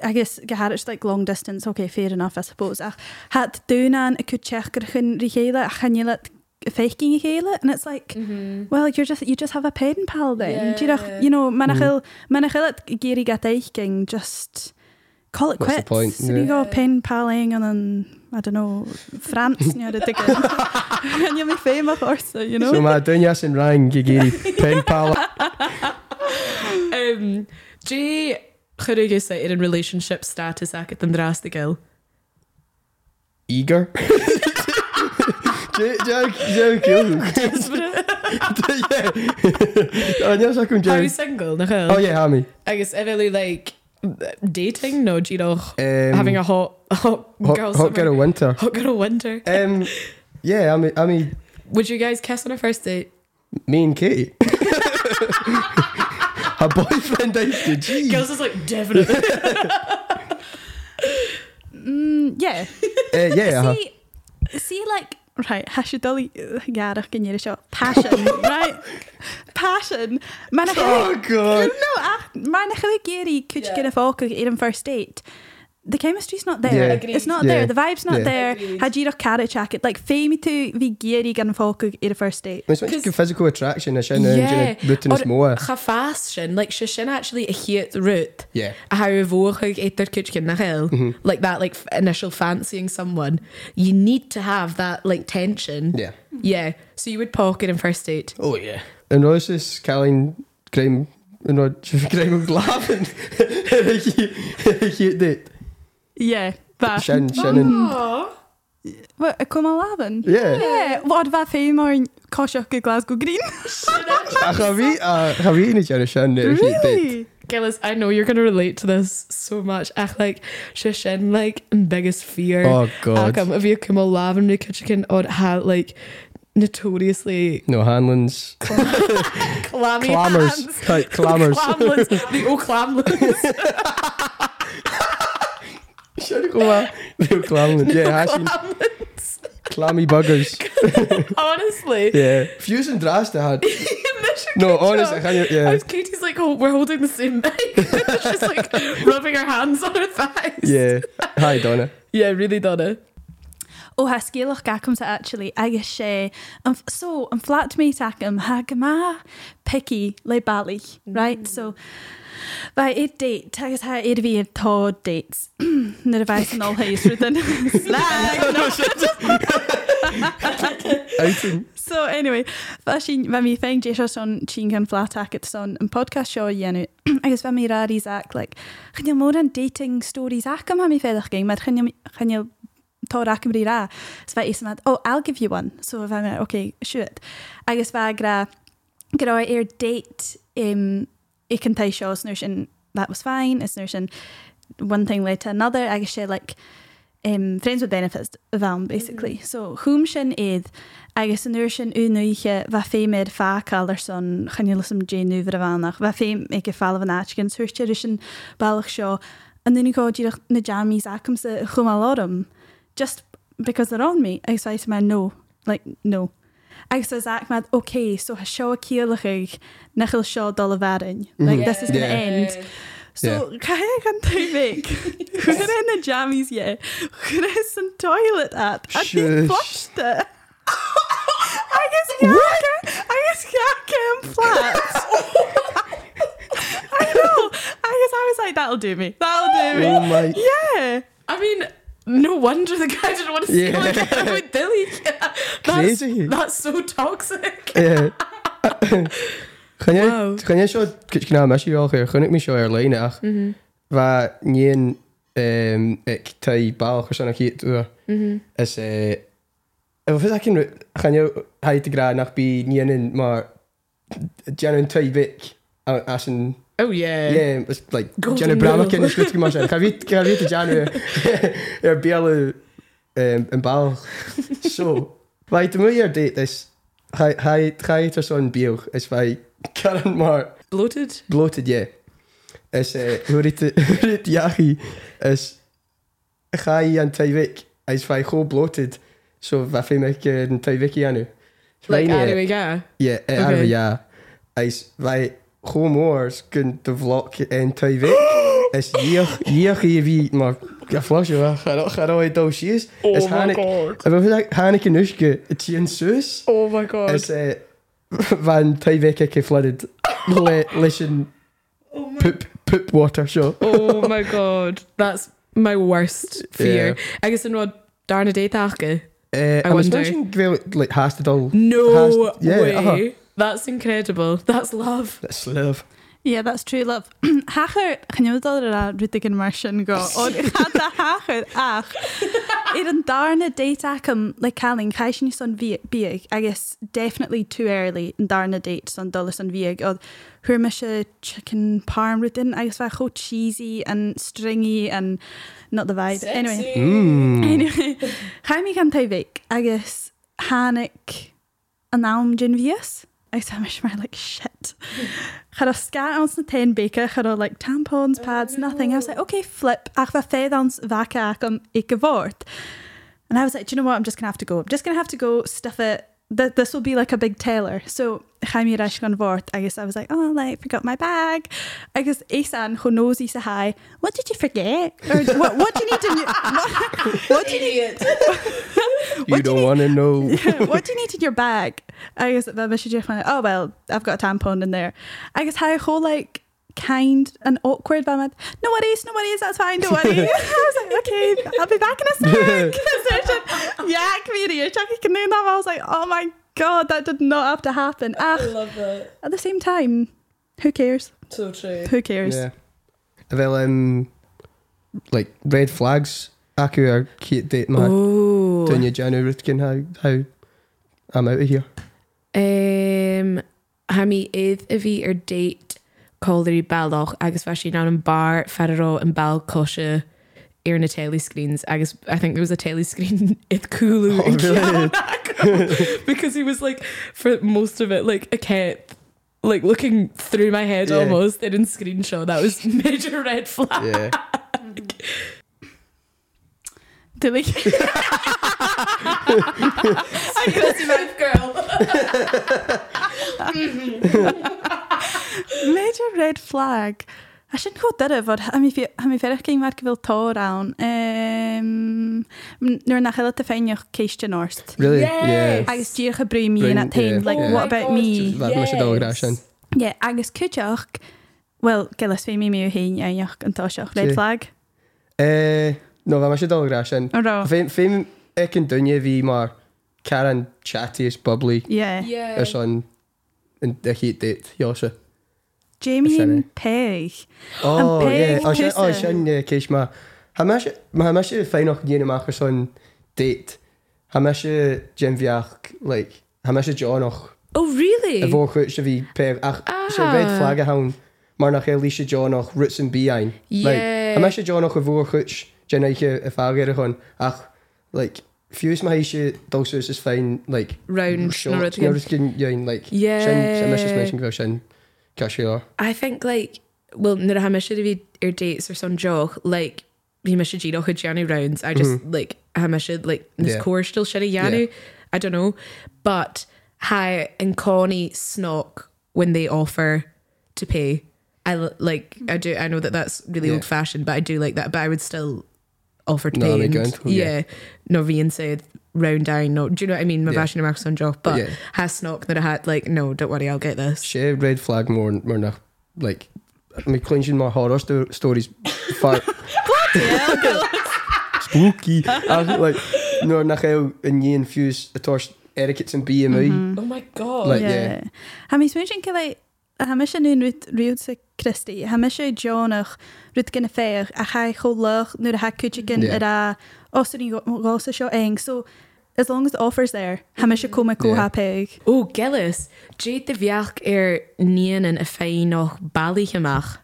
Speaker 2: agos gyharach like long distance, okay, fair enough, I suppose, ach, hat dyn an y cydio'ch gyrchyn rhi chael, a chanylat faking i chael, and it's like, well, you're just, you just have a pen pal then, do you know, you know,
Speaker 3: Mm-hmm.
Speaker 2: mae'n achil, mae'n achil at geiri gadaicing, just, call it
Speaker 3: What's the
Speaker 2: quits.
Speaker 3: point?
Speaker 2: So you
Speaker 3: Yeah.
Speaker 2: go pen paling and then, I don't know, France, you know, the ticket. And you'll be famous or so, you know.
Speaker 3: So mae dynia sy'n rhaen i giri pen pal.
Speaker 1: Um, G. Churugusa in relationship status ac at Andrastigil.
Speaker 3: Eager. Jack, Jack, you. Yeah. Dynia sy'n cwm
Speaker 1: Are you
Speaker 3: Jerry.
Speaker 1: single?
Speaker 3: Oh yeah, Hammy.
Speaker 1: I guess evidently like dating, no, do you know,
Speaker 3: Um,
Speaker 1: having a hot, hot, girl
Speaker 3: hot,
Speaker 1: summer,
Speaker 3: hot girl winter.
Speaker 1: hot girl winter.
Speaker 3: Um, yeah, I mean, I mean,
Speaker 1: Would you guys kiss on a first date?
Speaker 3: me and Katie. Her boyfriend used to gee. Uh,
Speaker 1: Girls is like definitely.
Speaker 2: Mm, yeah.
Speaker 3: yeah, uh-huh.
Speaker 2: See, see, like, right, hashiddoli garach gan seo. Passion, right? Passion. Mae'n
Speaker 3: Oh god.
Speaker 2: No, ach- mae'n achil geiri could you
Speaker 1: Yeah.
Speaker 2: get a fog at on first date? The chemistry's not there.
Speaker 3: Yeah.
Speaker 1: Agreed.
Speaker 2: It's not
Speaker 3: Yeah.
Speaker 2: there. The vibe's not
Speaker 3: Yeah.
Speaker 2: there.
Speaker 1: Agreed.
Speaker 2: Had you a carrot jacket? Like, fame to be geary gan fog at a first date.
Speaker 3: It's much
Speaker 1: 'Cause-
Speaker 3: good physical attraction as in yeah.
Speaker 1: Or
Speaker 3: routine more.
Speaker 1: Chafas sin, like she sin actually a hate root.
Speaker 3: Yeah. Mm-hmm.
Speaker 1: A how a vorig eter kitchen na hill. Like that like f- initial fancying someone. You need to have that like tension.
Speaker 3: Yeah.
Speaker 1: Yeah. So you would pocket in first date.
Speaker 3: Oh yeah. And Royce is Colleen Graham and Rod Graham was laughing. Cute date.
Speaker 2: Yeah. Ba.
Speaker 3: Shannon Shannon.
Speaker 2: oh.
Speaker 1: Aww.
Speaker 2: What, a come alaven?
Speaker 3: Yeah.
Speaker 2: Yeah. What about fame or Koshock Glasgow Green?
Speaker 3: I have you I have you in each other ah, Shannon cute date.
Speaker 2: really?
Speaker 1: Gillis, I know you're gonna relate to this so much. Ach, like Shishin, like in biggest fear.
Speaker 3: Oh god.
Speaker 1: Akam of you come alive and kitchen or how like notoriously
Speaker 3: No Hanlon's
Speaker 1: clammy
Speaker 3: clamors.
Speaker 1: hands.
Speaker 3: Like clamors.
Speaker 1: Clamless. the old clamless.
Speaker 3: Should go out. No clamlins. Yeah, hashing clammy buggers.
Speaker 1: Honestly.
Speaker 3: Yeah. Fuse and Drast I had. No, honestly, I can't.
Speaker 1: I
Speaker 3: Yeah.
Speaker 1: was Katie's like, oh, we're holding the same bag. She's like rubbing her hands on her thighs.
Speaker 3: Yeah. Hi, Donna.
Speaker 1: Yeah, really, Donna.
Speaker 2: ó ha scéalach gacamsa actually agus sé an f- so an flatmate acam ha gama picky le bally right so by it date agus ha it be tho dates na advice and all haze with an slag no
Speaker 3: Outing.
Speaker 2: so anyway fa sin fa mi fein jesha son chin gan flat acat son an podcast show yenu agus fa mi rari zac like chynil mor an dating stories acam ha mi feddach gang mae'r chynil chynil tar acam ri ra so fa is mad oh I'll give you one so fa mi okay shoot agus fa gra gra air er date um i can tell shows nurse and that was fine it's nurse and one thing led to another agus sé like um, friends with benefits bhean basically. Mm -hmm. So chum sin iad agus an nuair sin únúiche bheit féimiid fáil ar son chanélasam déanú a bhánach, bheit féim ag go fáil an áitcin suirte sin bailach seo an nuáíach na jamís acham sa chumálarm just because they're on me agus bhaid me no like no. Agus was ac mad, okay, so ha seo a cíalachig nachil seo dul a bharin. Like, this is going to
Speaker 3: Mhm. Yeah.
Speaker 2: end. So, yeah. kaya gan tae meg. Gwna yn y jammies ie. Gwna yn toilet at. A di
Speaker 3: Shush.
Speaker 2: flushed it. Agus gaca. Agus gaca yn flat. I know. Agus I was like, that'll do me. That'll do me.
Speaker 3: Oh my.
Speaker 2: Yeah.
Speaker 1: I mean, no wonder the guy didn't want to see
Speaker 3: Yeah.
Speaker 1: yeah. like with Dilly. That's,
Speaker 3: Crazy.
Speaker 1: That's so toxic.
Speaker 3: Yeah. Gaan
Speaker 1: Wow.
Speaker 3: jij, gaan jij zo, kijk naar mij, zie je al, gaan ik me zo erleen, ach. Waar niet een, ik tij baal, gaan zo'n keer door. Is, eh, of is dat geen, gaan jij, hij te graag naar bij niet in, maar, jij een tij weg, als een,
Speaker 1: Oh, yeah.
Speaker 3: Yeah, it's like
Speaker 1: Golden
Speaker 3: Jenna Brahma
Speaker 1: rule.
Speaker 3: cyn ysgwyt gymau sy'n. Chafit, chafit y Janu. Er biel yn bal. So, fai dim mwy ar date this. Hai tra son biel. Is fai Karen Mar
Speaker 1: Bloated?
Speaker 3: bloated, yeah. Is eh, hwrit iachu. Is chai an taivik. Is fai cho bloated. So, fa fai mech yn taivik i anu. eh,
Speaker 1: Like, yeah. anyway, yeah.
Speaker 3: Yeah, okay.
Speaker 1: Okay.
Speaker 3: arfa ia. Ais, fai, chwm oers gyn dy floc yn tyfu. Ys iach, iach i fi, ma, a fflosio fa, charo, charo i daw siys.
Speaker 1: Oh,
Speaker 3: Ys hanig,
Speaker 1: god.
Speaker 3: a fe fydd hanig yn ysgu, y ti yn sys.
Speaker 1: Oh my god.
Speaker 3: Ys e, fan tyfu cic i flooded, le, listen,
Speaker 1: oh, my,
Speaker 3: poop, poop water show.
Speaker 1: oh my god. That's my worst fear.
Speaker 3: Yeah.
Speaker 1: I guess in rod darn a day tachke.
Speaker 3: Uh,
Speaker 1: I
Speaker 3: I was
Speaker 1: wonder.
Speaker 3: mentioning gweld, like, has to dull.
Speaker 1: No
Speaker 3: Has- yeah,
Speaker 1: way.
Speaker 3: uh-huh.
Speaker 1: That's incredible. That's love.
Speaker 3: That's love.
Speaker 2: Yeah, that's true love. Hacher, chnywdol yr a rwydig yn mar sy'n go. Ond chata hacher, ach. Ir yn darna date ac am, le calin, chai sy'n son bieg. I guess definitely too early yn darna date son dola son bieg. Oedd hwyr mae sy'n chicken parm rwydig, I guess fa cho cheesy and stringy and not the vibe. Anyway.
Speaker 1: Eh,
Speaker 3: Mm.
Speaker 2: Anyway, chai mi gan teifig, agus hannig yn awm gin fias. I said, I'm sure, like, shit. Had a scat ounce na 10 baker, had a like tampons, pads, nothing. I was like, okay, flip. Ach fa fedd ounce vaca ac am i gyford. And I was like, do you know what? I'm just going to have to go. I'm just going to have to go stuff it. Th- this will be like a big teller. So, Jaime Rashgan Vort, I guess I was like, oh, like, forgot my bag. I guess Asan, who knows Isa High, what did you forget? Or what, what do you need to know? What, what do you need?
Speaker 3: You don't want to know.
Speaker 2: what do you need in your bag? I guess the Mr. Jeff went, oh, well, I've got a tampon in there. I guess how whole, like, kind and awkward, but I'm like, no worries, no worries, that's fine, don't worry. I was like, okay, I'll be back in a sec. So I said, yeah, come here, you're chucking can do that. I was like, oh my God, that did not have to happen. Ah,
Speaker 1: love that.
Speaker 2: at the same time, who cares?
Speaker 1: So true.
Speaker 2: Who cares?
Speaker 3: Yeah. Well, um, like red flags. e, Aku or Kate date my
Speaker 1: Oh.
Speaker 3: Dunya Janu Rutkin. How how I'm out of here.
Speaker 1: Um, ha mi idd y fi ar date colder i baldoch agus fe si nawr yn bar ferro yn bal cosio ar na telly screens agus I think there was a telly screen idd cwlw
Speaker 3: Oh,
Speaker 1: yn Ciarán
Speaker 3: really?
Speaker 1: because he was like for most of it like a cat like looking through my head
Speaker 3: Yeah.
Speaker 1: almost in screenshot that was major red flag
Speaker 3: Yeah.
Speaker 2: Dilly.
Speaker 1: I guess my girl
Speaker 2: Major red flag. I shouldn't go there fod am i fi- am i ferach gyn mae'r gyfil to rawn. Um, Nw'r nach eilad y ffeinio'ch ceistion orst.
Speaker 3: Really?
Speaker 1: Yes.
Speaker 3: Yeah.
Speaker 2: Agus diolch y brym i
Speaker 3: Brym,
Speaker 2: yn at hyn.
Speaker 3: yeah.
Speaker 2: Like,
Speaker 3: Oh
Speaker 2: what
Speaker 1: my
Speaker 2: about
Speaker 1: God,
Speaker 2: me?
Speaker 1: just-
Speaker 3: That must have all
Speaker 1: Yes.
Speaker 3: grashin.
Speaker 2: Yeah, agus cwtioch. Wel, gilis fi mi mi yw hyn iawnioch yn tosioch. Red
Speaker 3: Ti.
Speaker 2: flag.
Speaker 3: Eh, no, that must have all grashin.
Speaker 2: O ro.
Speaker 3: Fame fame Ekin Dunya V Mar Karen chattiest bubbly
Speaker 2: Yeah.
Speaker 1: yeah
Speaker 3: or son and a Kate date e. Yosha.
Speaker 2: Jamie yn
Speaker 3: Sorry.
Speaker 2: peg.
Speaker 3: Oh yeah.
Speaker 2: pig
Speaker 3: Oh shin oh
Speaker 2: person.
Speaker 3: shin yeah Kishma. Hamish Hamish fine off Dunya Marker son date. Hamish Jim Viach like Hamish John och
Speaker 1: oh really
Speaker 3: Y fo chwyt sy'n fi pef. Ach, sy'n red
Speaker 1: Ah.
Speaker 3: flag a hawn. Mae'r nach Elisha John o'ch roots yn biain.
Speaker 1: Yeah.
Speaker 3: Like, a mae eisiau John o'ch y fo chwyt gen i chi y ffag ar y hwn. Ach, like, ffiws mae eisiau dosys is fain, like,
Speaker 1: round na
Speaker 3: shorts.
Speaker 1: rud
Speaker 3: Nawr
Speaker 1: again.
Speaker 3: ydych chi'n iawn, like,
Speaker 1: Yeah.
Speaker 3: sy'n mysio smysio gyda sy'n casio o.
Speaker 1: I think like well nid ha mis fi ar dates or some joke like he mis gyd o'ch Gianni rounds I just like ha mis like this
Speaker 3: Mm-hmm. Yeah.
Speaker 1: core still shitty Gianni I don't know but hi and Connie snock when they offer to pay I l- like I do I know that that's really
Speaker 3: Yeah.
Speaker 1: old fashioned but I do like that but I would still offer to
Speaker 3: No,
Speaker 1: pay
Speaker 3: they
Speaker 1: and-
Speaker 3: don't, oh, yeah.
Speaker 1: yeah no fi'n said round down no do you know what I mean my
Speaker 3: Yeah.
Speaker 1: yeah. bashing Marcus on joke but
Speaker 3: Yeah.
Speaker 1: yeah. has snock that I had like no don't worry I'll get this
Speaker 3: Sy'n red flag mor, mor na, like, Mae clinching my horror sto stories far spooky. Ach, like, nor nach ew yn un ffiws y tors etiquette yn BMI.
Speaker 1: oh my god
Speaker 3: E. Like,
Speaker 2: yeah. A mi smwysyn cael ei... A hamis yn un rhywyd sy'n Christi. Hamis yn Jonoch rhywyd gyn y ffeir. A chai chwlwch nŵr ha cwtio gyn
Speaker 3: Mm-hmm. Yeah.
Speaker 2: yr a... Os ydyn ni'n gos o sio eng. So, as long as the offer's there, ha me se kom
Speaker 3: Mm-hmm. Yeah.
Speaker 2: koha peg.
Speaker 1: Ó Gellis, Dé de bheach ar níanaan a féin nach bailíigeach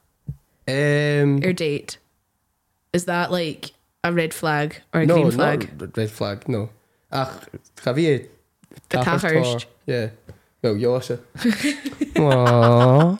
Speaker 3: Um,
Speaker 1: ar date. Is that like a red flag or a no,
Speaker 3: no,
Speaker 1: green
Speaker 3: no,
Speaker 1: flag?
Speaker 3: red flag, no. Ach, ga wie
Speaker 1: Tathairst.
Speaker 3: Yeah. Nou, No, Josse. Aww.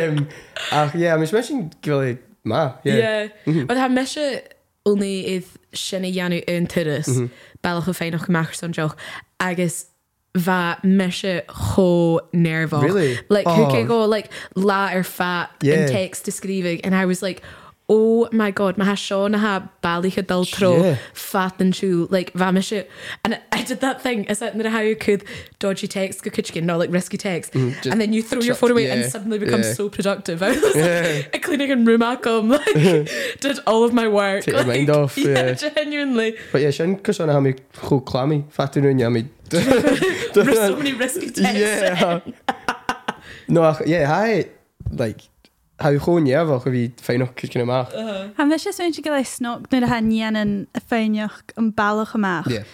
Speaker 3: um, ach, yeah, mis misschien gwele ma. Yeah. yeah. Mm-hmm.
Speaker 1: Wat ha meise úna iad sinna dheanú an turas
Speaker 3: Mm-hmm.
Speaker 1: bailach go féinach goach san deoch agus bha meise cho nervá.
Speaker 3: Really?
Speaker 1: Like who
Speaker 3: Oh.
Speaker 1: can go like la or fat
Speaker 3: Yeah.
Speaker 1: in text describing and I was like Oh my god, ma ha Sean ha balich adult tro
Speaker 3: Yeah.
Speaker 1: fat and chew like vamish it. And I did that thing. I said, "Know how you could dodgy text, go kitchen, not like risky text,
Speaker 3: Mhm, just
Speaker 1: and then you throw your
Speaker 3: chuck-
Speaker 1: phone away
Speaker 3: yeah,
Speaker 1: and suddenly become
Speaker 3: yeah.
Speaker 1: so productive." I was
Speaker 3: Yeah.
Speaker 1: like, cleaning in room outcome, like did all of my work.
Speaker 3: Take your
Speaker 1: like,
Speaker 3: mind off, yeah.
Speaker 1: genuinely.
Speaker 3: But yeah, sin cosna ha mi goed klammy. Fatu nu ja mi.
Speaker 1: There's so many risky texts.
Speaker 3: Yeah. no, ach, yeah, hi, like, ha je gewoon ja, wel wie fijn nog kunnen maken.
Speaker 2: Ha me se se go lei snog nu a ha niennen a féinioch an ballach gemaach.
Speaker 3: Yeah.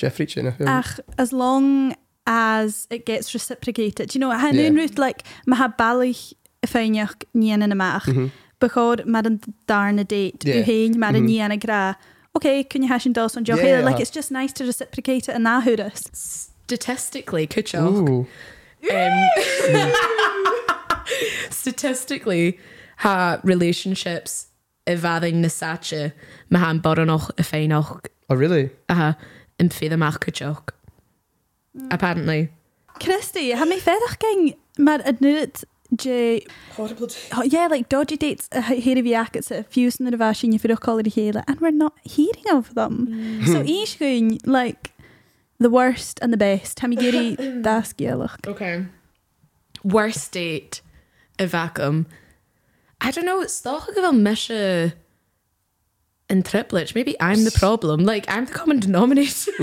Speaker 3: Jeffrey Chin.
Speaker 2: Ach, as long as it gets reciprocated. Do you know ha
Speaker 3: Yeah.
Speaker 2: yeah. ruút like ma ha ballich a féinioch niennen amach. Mm -hmm. Beád mar an darna date
Speaker 3: Mhm. Yeah.
Speaker 2: yeah. héin mar an
Speaker 3: Mhm.
Speaker 2: níana gra. Okay, kun je hasin dos an jo
Speaker 3: Yeah, uh-huh.
Speaker 2: yeah, like
Speaker 3: yeah.
Speaker 2: it's just nice to reciprocate it an nahuras.
Speaker 1: Statistically, could you?
Speaker 3: Ooh.
Speaker 1: um, statistically ha relationships i bhhaing na sache me ha an boranach a uh-huh, féinach
Speaker 3: Oh, really?
Speaker 1: a an féidirach goteach. Apparently.
Speaker 2: Christy, ha mé ferch ging mar a nuút je oh, yeah, like dodgy dates uh, a hé vi it's a fuse na vasin you fur call héle and we're not hearing of them. so each goon like the worst and the best. Ha géri dasgielach.
Speaker 1: Okay. Worst date a vacuum. I don't know, it's not like a measure in triplets. Maybe I'm the problem. Like I'm the common denominator.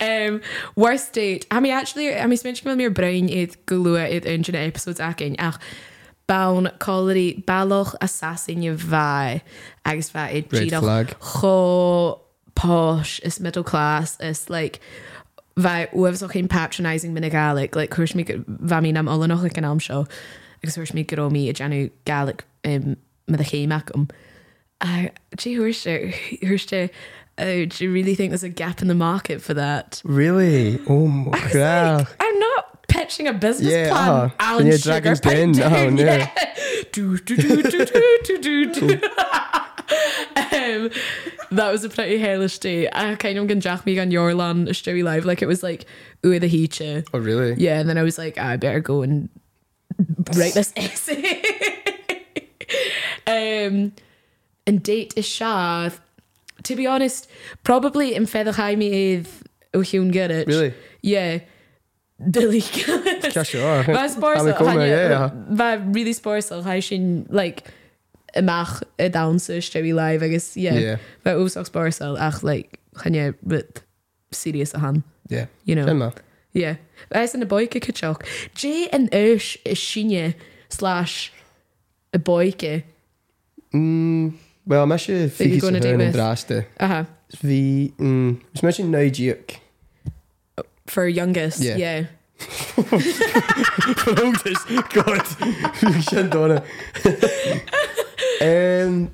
Speaker 1: um worst date. I mean actually I mean mentioned with your brain it gulua it engine episodes akin. Ach Bawn collery baloch assassin you vai agus vai
Speaker 3: Red flag.
Speaker 1: cho posh is middle class is like vai uefs och patronizing min a Gaelic like hwrs mi va mi am ola noch like an am show agus hwrs mi gyro mi a janu Gaelic um, med a chéach um I gee hwrs hwrs te Oh, do you really think there's a gap in the market for that?
Speaker 3: Really? Oh my god.
Speaker 1: I'm not pitching a business
Speaker 3: Yeah,
Speaker 1: plan.
Speaker 3: uh-huh.
Speaker 1: Alan
Speaker 3: Yeah,
Speaker 1: Sugar
Speaker 3: Dragon's
Speaker 1: Pine
Speaker 3: Den,
Speaker 1: Down,
Speaker 3: oh, no.
Speaker 1: yeah. Do, do, do, do, do, do, do, do. um, that was a pretty hellish day. I kind of gan Jack me on your land a stewy live. Like it was like ooh the heacher.
Speaker 3: Oh, really?
Speaker 1: Yeah, and then I was like, "Ah, I better go and write this essay. um, and date is Shad. To be honest, probably in Featherheim with O'Hune Gerrit.
Speaker 3: Really?
Speaker 1: Yeah. Dilly Gillis.
Speaker 3: Ja, sure.
Speaker 1: Bheith
Speaker 3: Halle
Speaker 1: spórsal,
Speaker 3: Comer,
Speaker 1: Hania,
Speaker 3: yeah, yeah.
Speaker 1: bheith really spórsal, há sin, like, amach a dansa stewi live, agus, yeah.
Speaker 3: Yeah.
Speaker 1: Bheith úsach spórsal, ach, like, chanye, but serious a han,
Speaker 3: Yeah.
Speaker 1: you know.
Speaker 3: Sin ma.
Speaker 1: Yeah. Bheith in a boica cachoch. Jé an eis is sinne slash a boica.
Speaker 3: Mm, well, mes je
Speaker 1: you
Speaker 3: fiets
Speaker 1: gonna do
Speaker 3: hun en
Speaker 1: with?
Speaker 3: draaste.
Speaker 1: Aha.
Speaker 3: Vi, mm, is mes je nuidiek.
Speaker 1: For youngest,
Speaker 3: Yeah.
Speaker 1: yeah. yeah.
Speaker 3: Verhoogd is. God. Ik zijn donnen. En Ehm,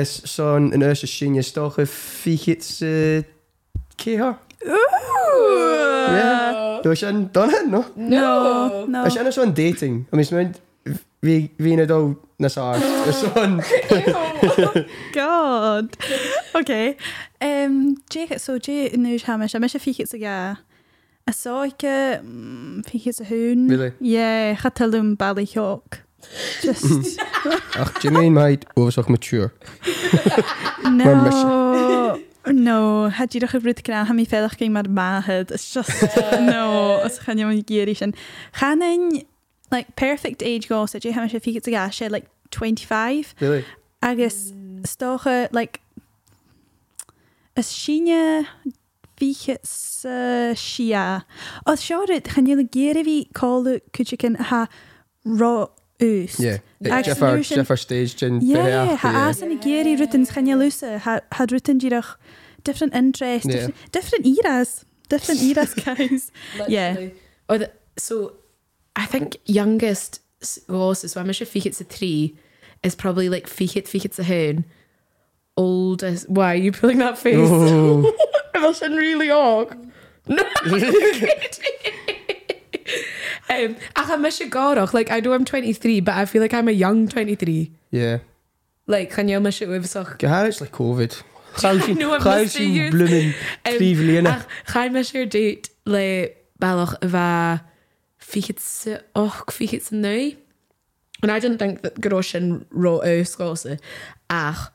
Speaker 3: is zo'n een eerste zin je eh, toch een fiets keer. Ja. Door zijn donnen, no?
Speaker 2: Nou. No, no.
Speaker 3: Als jij nou zo'n dating, om eens met wie wie het al naar zaar. Zo'n
Speaker 2: God. Okay. Um, Jake, so Jake nuús ha me me se fiket a ga. A mm, sáike fiket a hún.
Speaker 3: Really?
Speaker 2: Yeah, chatalum ballichok. Just
Speaker 3: Ach, Jimmy en mij overzag mature. Maar mis
Speaker 2: No. No, had je er gebrut gedaan, had je veilig ging maar maagd. It's just, no, als gaan je maar gierig zijn. Gaan een, like, perfect age goal, zet je hem als je vier te gaan, als je, like, 25,
Speaker 3: Really?
Speaker 2: agus stoge, like, als je vier eh, shia. Als je het, gaan je gierig wie kolen, kun je kan ha ro uist.
Speaker 3: Yeah.
Speaker 2: Ag
Speaker 3: Jeffar,
Speaker 2: solution-
Speaker 3: Jeffar staged in
Speaker 2: Yeah,
Speaker 3: Berea.
Speaker 2: ha as yn y geri rwytyn sgan i lwysa, ha rwytyn gyrach different interests,
Speaker 3: Yeah.
Speaker 2: different, different eras, different eras, guys. Yeah.
Speaker 1: Or the, so I think youngest s- was is when we should fake it's a three is probably like fake it, fake it's a hen. Oldest. Why are you pulling that face?
Speaker 3: Oh.
Speaker 1: I shouldn't really arc. No. um, ach, I'm Mishigorach. Like, I know I'm 23, but I feel like I'm a young 23.
Speaker 3: Yeah.
Speaker 1: Like, can you miss it with such?
Speaker 3: Gehad it's like COVID. Chaushin,
Speaker 1: know, I'm listening to
Speaker 3: chaushin
Speaker 1: you.
Speaker 3: blooming
Speaker 1: Um,
Speaker 3: three
Speaker 1: Ach, ga je met je date le ballach va fichitse och fichitse nu. And I didn't think that Groshin wrote out Scotsy. Ach,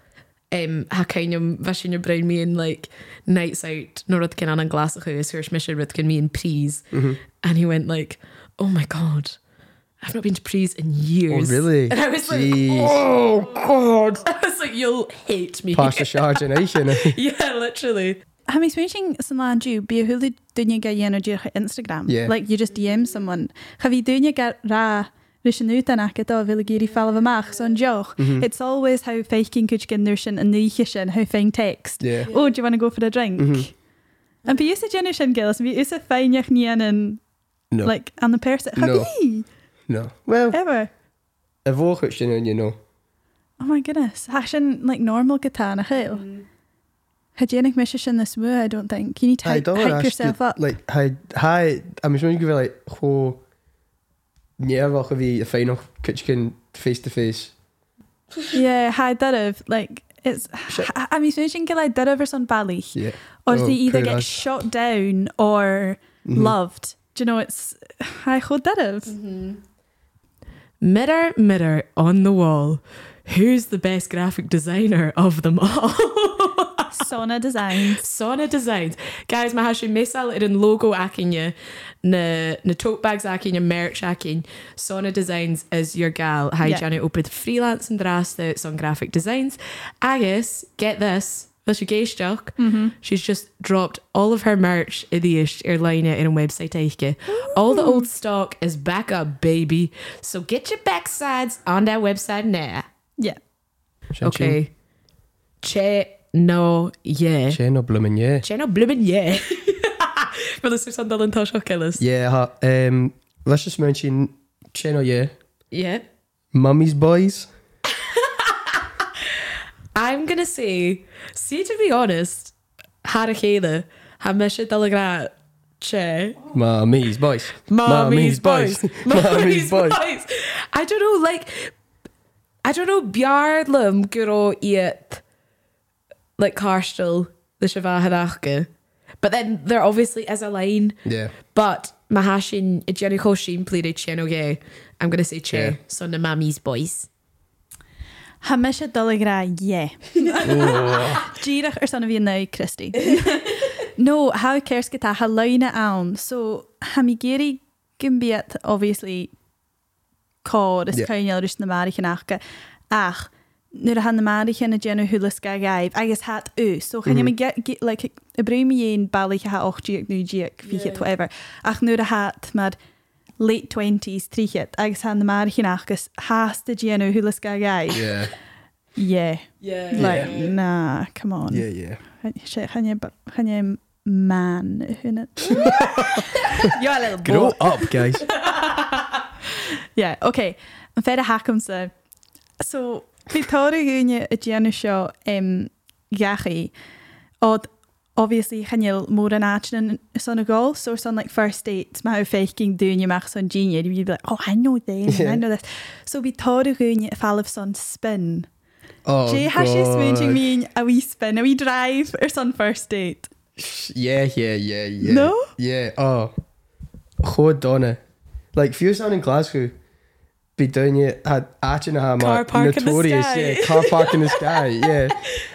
Speaker 1: um, ha kind of vision your brain me in like nights out, nor at can an glass of house, where's mission with can me in Prees.
Speaker 3: Mhm.
Speaker 1: And he went like, oh my God, I've not been to Prees in years.
Speaker 3: Oh, really?
Speaker 1: And I was
Speaker 3: Jeez.
Speaker 1: like, oh God. I was like, you'll hate me.
Speaker 3: Past the charge in Aishin.
Speaker 1: yeah, literally.
Speaker 2: Ha mi switching san lá dú bí thuúla duine ga dhéana dúcha Instagram.
Speaker 3: Yeah.
Speaker 2: Like you just DM someone. Cha bhí duine ga rá sin útain acha a bhfuil géirí fall amach son deoch.
Speaker 3: Mm.
Speaker 2: It's always how faking could gin nuair sin a níe sin how féin text.
Speaker 3: Yeah. Mm-hmm.
Speaker 2: Oh, do you want to go for a drink? And be a genu sin gillas, be ús a féineach nían an
Speaker 3: No.
Speaker 2: like uh, an the person. Cha
Speaker 3: No.
Speaker 2: bhí
Speaker 3: No. Well,
Speaker 2: ever.
Speaker 3: a vochich in you know.
Speaker 2: Oh my goodness. Ha sin like normal gitana
Speaker 3: Mm.
Speaker 2: hill. Hygienic mission sin this woo, I don't think. You need to
Speaker 3: I
Speaker 2: hype,
Speaker 3: don't
Speaker 2: hype yourself up.
Speaker 3: Like, hi, hi. I'm just going to give it like, oh, yeah, well, could be a final kitchen face to face.
Speaker 2: yeah, ha dyrf, like it's
Speaker 3: Shit.
Speaker 2: ha- I mean switching get like dyrf or son bally.
Speaker 3: Yeah.
Speaker 2: Or
Speaker 3: Oh, Mm-hmm.
Speaker 2: they either
Speaker 3: poor
Speaker 2: get
Speaker 3: lads.
Speaker 2: shot down or loved. Do you know it's I hold dyrf.
Speaker 1: Mm-hmm. Mirror, mirror on the wall, who's the best graphic designer of them all?
Speaker 2: Sona designs.
Speaker 1: Sona Designs. Guys, mae hasio mesal yr yn logo acin you, na, na tote bags acin you, merch acin. Sona Designs is your gal. Hi,
Speaker 2: Yeah.
Speaker 1: yeah. Janet Opeth, freelance and drasta, on graphic designs. Agus, get this, this your gay stuck. She's just dropped all of her merch in the ish airline in a website eiche. All the old stock is back up, baby. So get your backsides on that website now.
Speaker 2: Yeah.
Speaker 1: Okay. Che no yeah.
Speaker 3: Chain or blooming, yeah.
Speaker 1: Sé ná blimin é Well is san dal antá seo celas?
Speaker 3: Yeah. Ha, um, let's just mention chain or yeah.
Speaker 1: Yeah.
Speaker 3: Mummy's boys.
Speaker 1: I'm gonna say, see to be honest, har a chéile ha me sé dal gra che
Speaker 3: Mummy's boys.
Speaker 1: Mommy's
Speaker 3: Mummy's boys.
Speaker 1: boys. I don't know like I don't know beardlum guro iet like carstal the shiva hadachke. But then there obviously is a line
Speaker 3: Yeah.
Speaker 1: But Mahashin Jericho Sheen played a Cheno gay. I'm gonna say Che,
Speaker 3: Yeah.
Speaker 1: son of Mammy's boys.
Speaker 2: Hamisha Dulligra, yeah. Gírach ar sanna bhí ná Christy. No, how cares get a halaina an. So hamigiri gimbiat obviously cod is dus
Speaker 3: Yeah.
Speaker 2: kind of just na marichin achka. Ach, nuair a han na marichin a genu hulas ga gaib. Agus hat u. So can you me get get like a brumi ein bali ha och giek nu giek fihet whatever. Ach nuair a hat mar late 20s tríchet agus han na marichin achkas has the genu hulas ga gaib.
Speaker 3: Yeah.
Speaker 2: Yeah.
Speaker 1: Yeah.
Speaker 2: Like nah, come on.
Speaker 3: Yeah, yeah.
Speaker 2: Shit, gaan je, gaan je man hun het? You're a little
Speaker 3: Grow up, guys.
Speaker 2: Yeah, okay. Een verder haak om ze. So, Victoria Gunje, het Janu show, um, Yachi, od obviously gaan je more an action in son goal, so son like first dates, maar hoe faking doen je mag zo'n genie, you'd be like, oh, I know this,
Speaker 3: Yeah.
Speaker 2: I know this. So Victoria Gunje, fall of son spin.
Speaker 3: Oh,
Speaker 2: Jay has she
Speaker 3: God.
Speaker 2: smooching mean a wee spin, a wee drive, or son first date.
Speaker 3: Yeah, yeah, yeah, yeah.
Speaker 2: No?
Speaker 3: Yeah, oh. Goed done. Like, if you was down in Glasgow, be down here, had Arch and Hammer.
Speaker 1: Car park in the
Speaker 3: notorious,
Speaker 1: sky.
Speaker 3: Yeah, car park in the sky, yeah.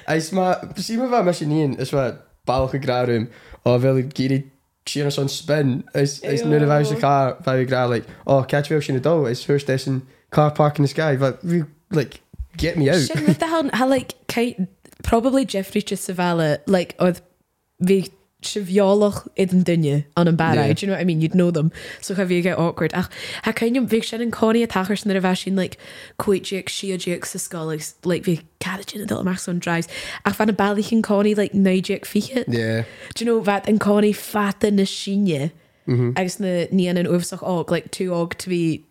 Speaker 3: I smart. See, my van machine in is what Balge Grarum, or Veli Giri. Sheer on spin. It's it's near the house the car very grad like oh catch me up in the door. It's first station car park in the sky. But we like get me out.
Speaker 1: Shin with the hell, I like Kate, probably Jeffrey Chisavella, like, or the trivialach in an dunne an an bad
Speaker 3: Yeah.
Speaker 1: do you know what I mean you'd know them so have you get awkward ach ha kind of big sin an corny attackers na rash in like quajic shiajic sa scholars like vi carriage in the max on drives ach fan a bally can corny like nijic fiche
Speaker 3: Yeah.
Speaker 1: do you know that an corny fat in a shinya
Speaker 3: Mhm.
Speaker 1: agus na nían an uafsach og like two og to be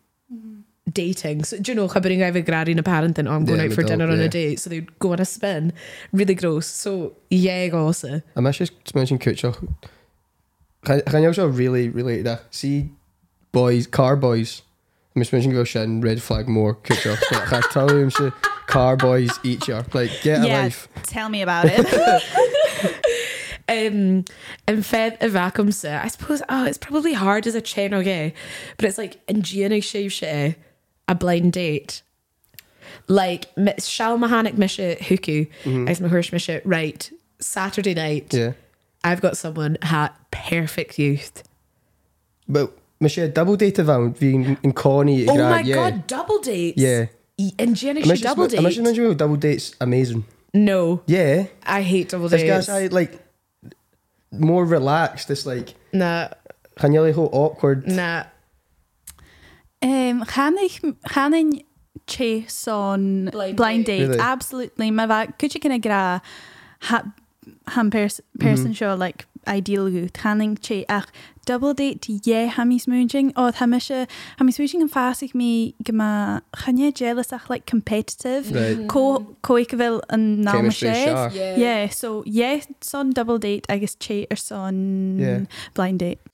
Speaker 1: dating so do you know having I've a grad in a parent and "Oh, I'm going
Speaker 3: Yeah,
Speaker 1: out for
Speaker 3: an
Speaker 1: dinner
Speaker 3: adult,
Speaker 1: on a
Speaker 3: yeah.
Speaker 1: date so they'd go on a spin really gross so e. yeah gossa
Speaker 3: I must just mention Kutcher. Can can you also really relate that? See, boys, car boys. I must mention go shit and red flag more Kutcher. like, I tell him shit. Car boys eat you. Like get a
Speaker 2: Yeah.
Speaker 3: life.
Speaker 2: Tell me about it.
Speaker 1: um and fed a vacuum set. I suppose oh it's probably hard as a chain okay. But it's like in Gianna Shave Shea, a blind date. Like Shal Mahanic Misha Huku, as Mahursh Misha, right, Saturday night,
Speaker 3: Mhm. Yeah.
Speaker 1: I've got someone hat perfect youth.
Speaker 3: But Michelle double date around being in corny.
Speaker 1: oh my
Speaker 3: yeah.
Speaker 1: god, double dates. E,
Speaker 3: Yeah.
Speaker 1: And Gianna
Speaker 3: I
Speaker 1: Shave
Speaker 3: must just-
Speaker 1: double
Speaker 3: I must
Speaker 1: date.
Speaker 3: just mention how double dates amazing.
Speaker 1: No,
Speaker 3: Yeah.
Speaker 1: I hate double
Speaker 3: This guy's
Speaker 1: dates.
Speaker 3: I, like more relaxed. It's like
Speaker 1: Nah,
Speaker 3: can you like how awkward.
Speaker 1: nah.
Speaker 2: Um, Hannig chase on
Speaker 1: Blind
Speaker 2: blind, blind date.
Speaker 1: date.
Speaker 3: Really?
Speaker 2: Absolutely. Mae fa, cwtio gyda gyda ha, ham pers,
Speaker 3: Mm-hmm.
Speaker 2: person mm -hmm. sio, like, ideal gwt. Hannig chase, ach, uh, double date, ie, ham Oh, i smwging. Oedd ham eisiau, ham i smwging yn ffasig mi gyma, chanie jealous ach, like, competitive.
Speaker 3: Right.
Speaker 2: Co, coig fel yn naw
Speaker 3: Chemistry
Speaker 2: mysio.
Speaker 3: shock.
Speaker 1: Yeah.
Speaker 2: Yeah, so, ie, son double date, I guess, chase, or son
Speaker 3: Yeah.
Speaker 2: blind date.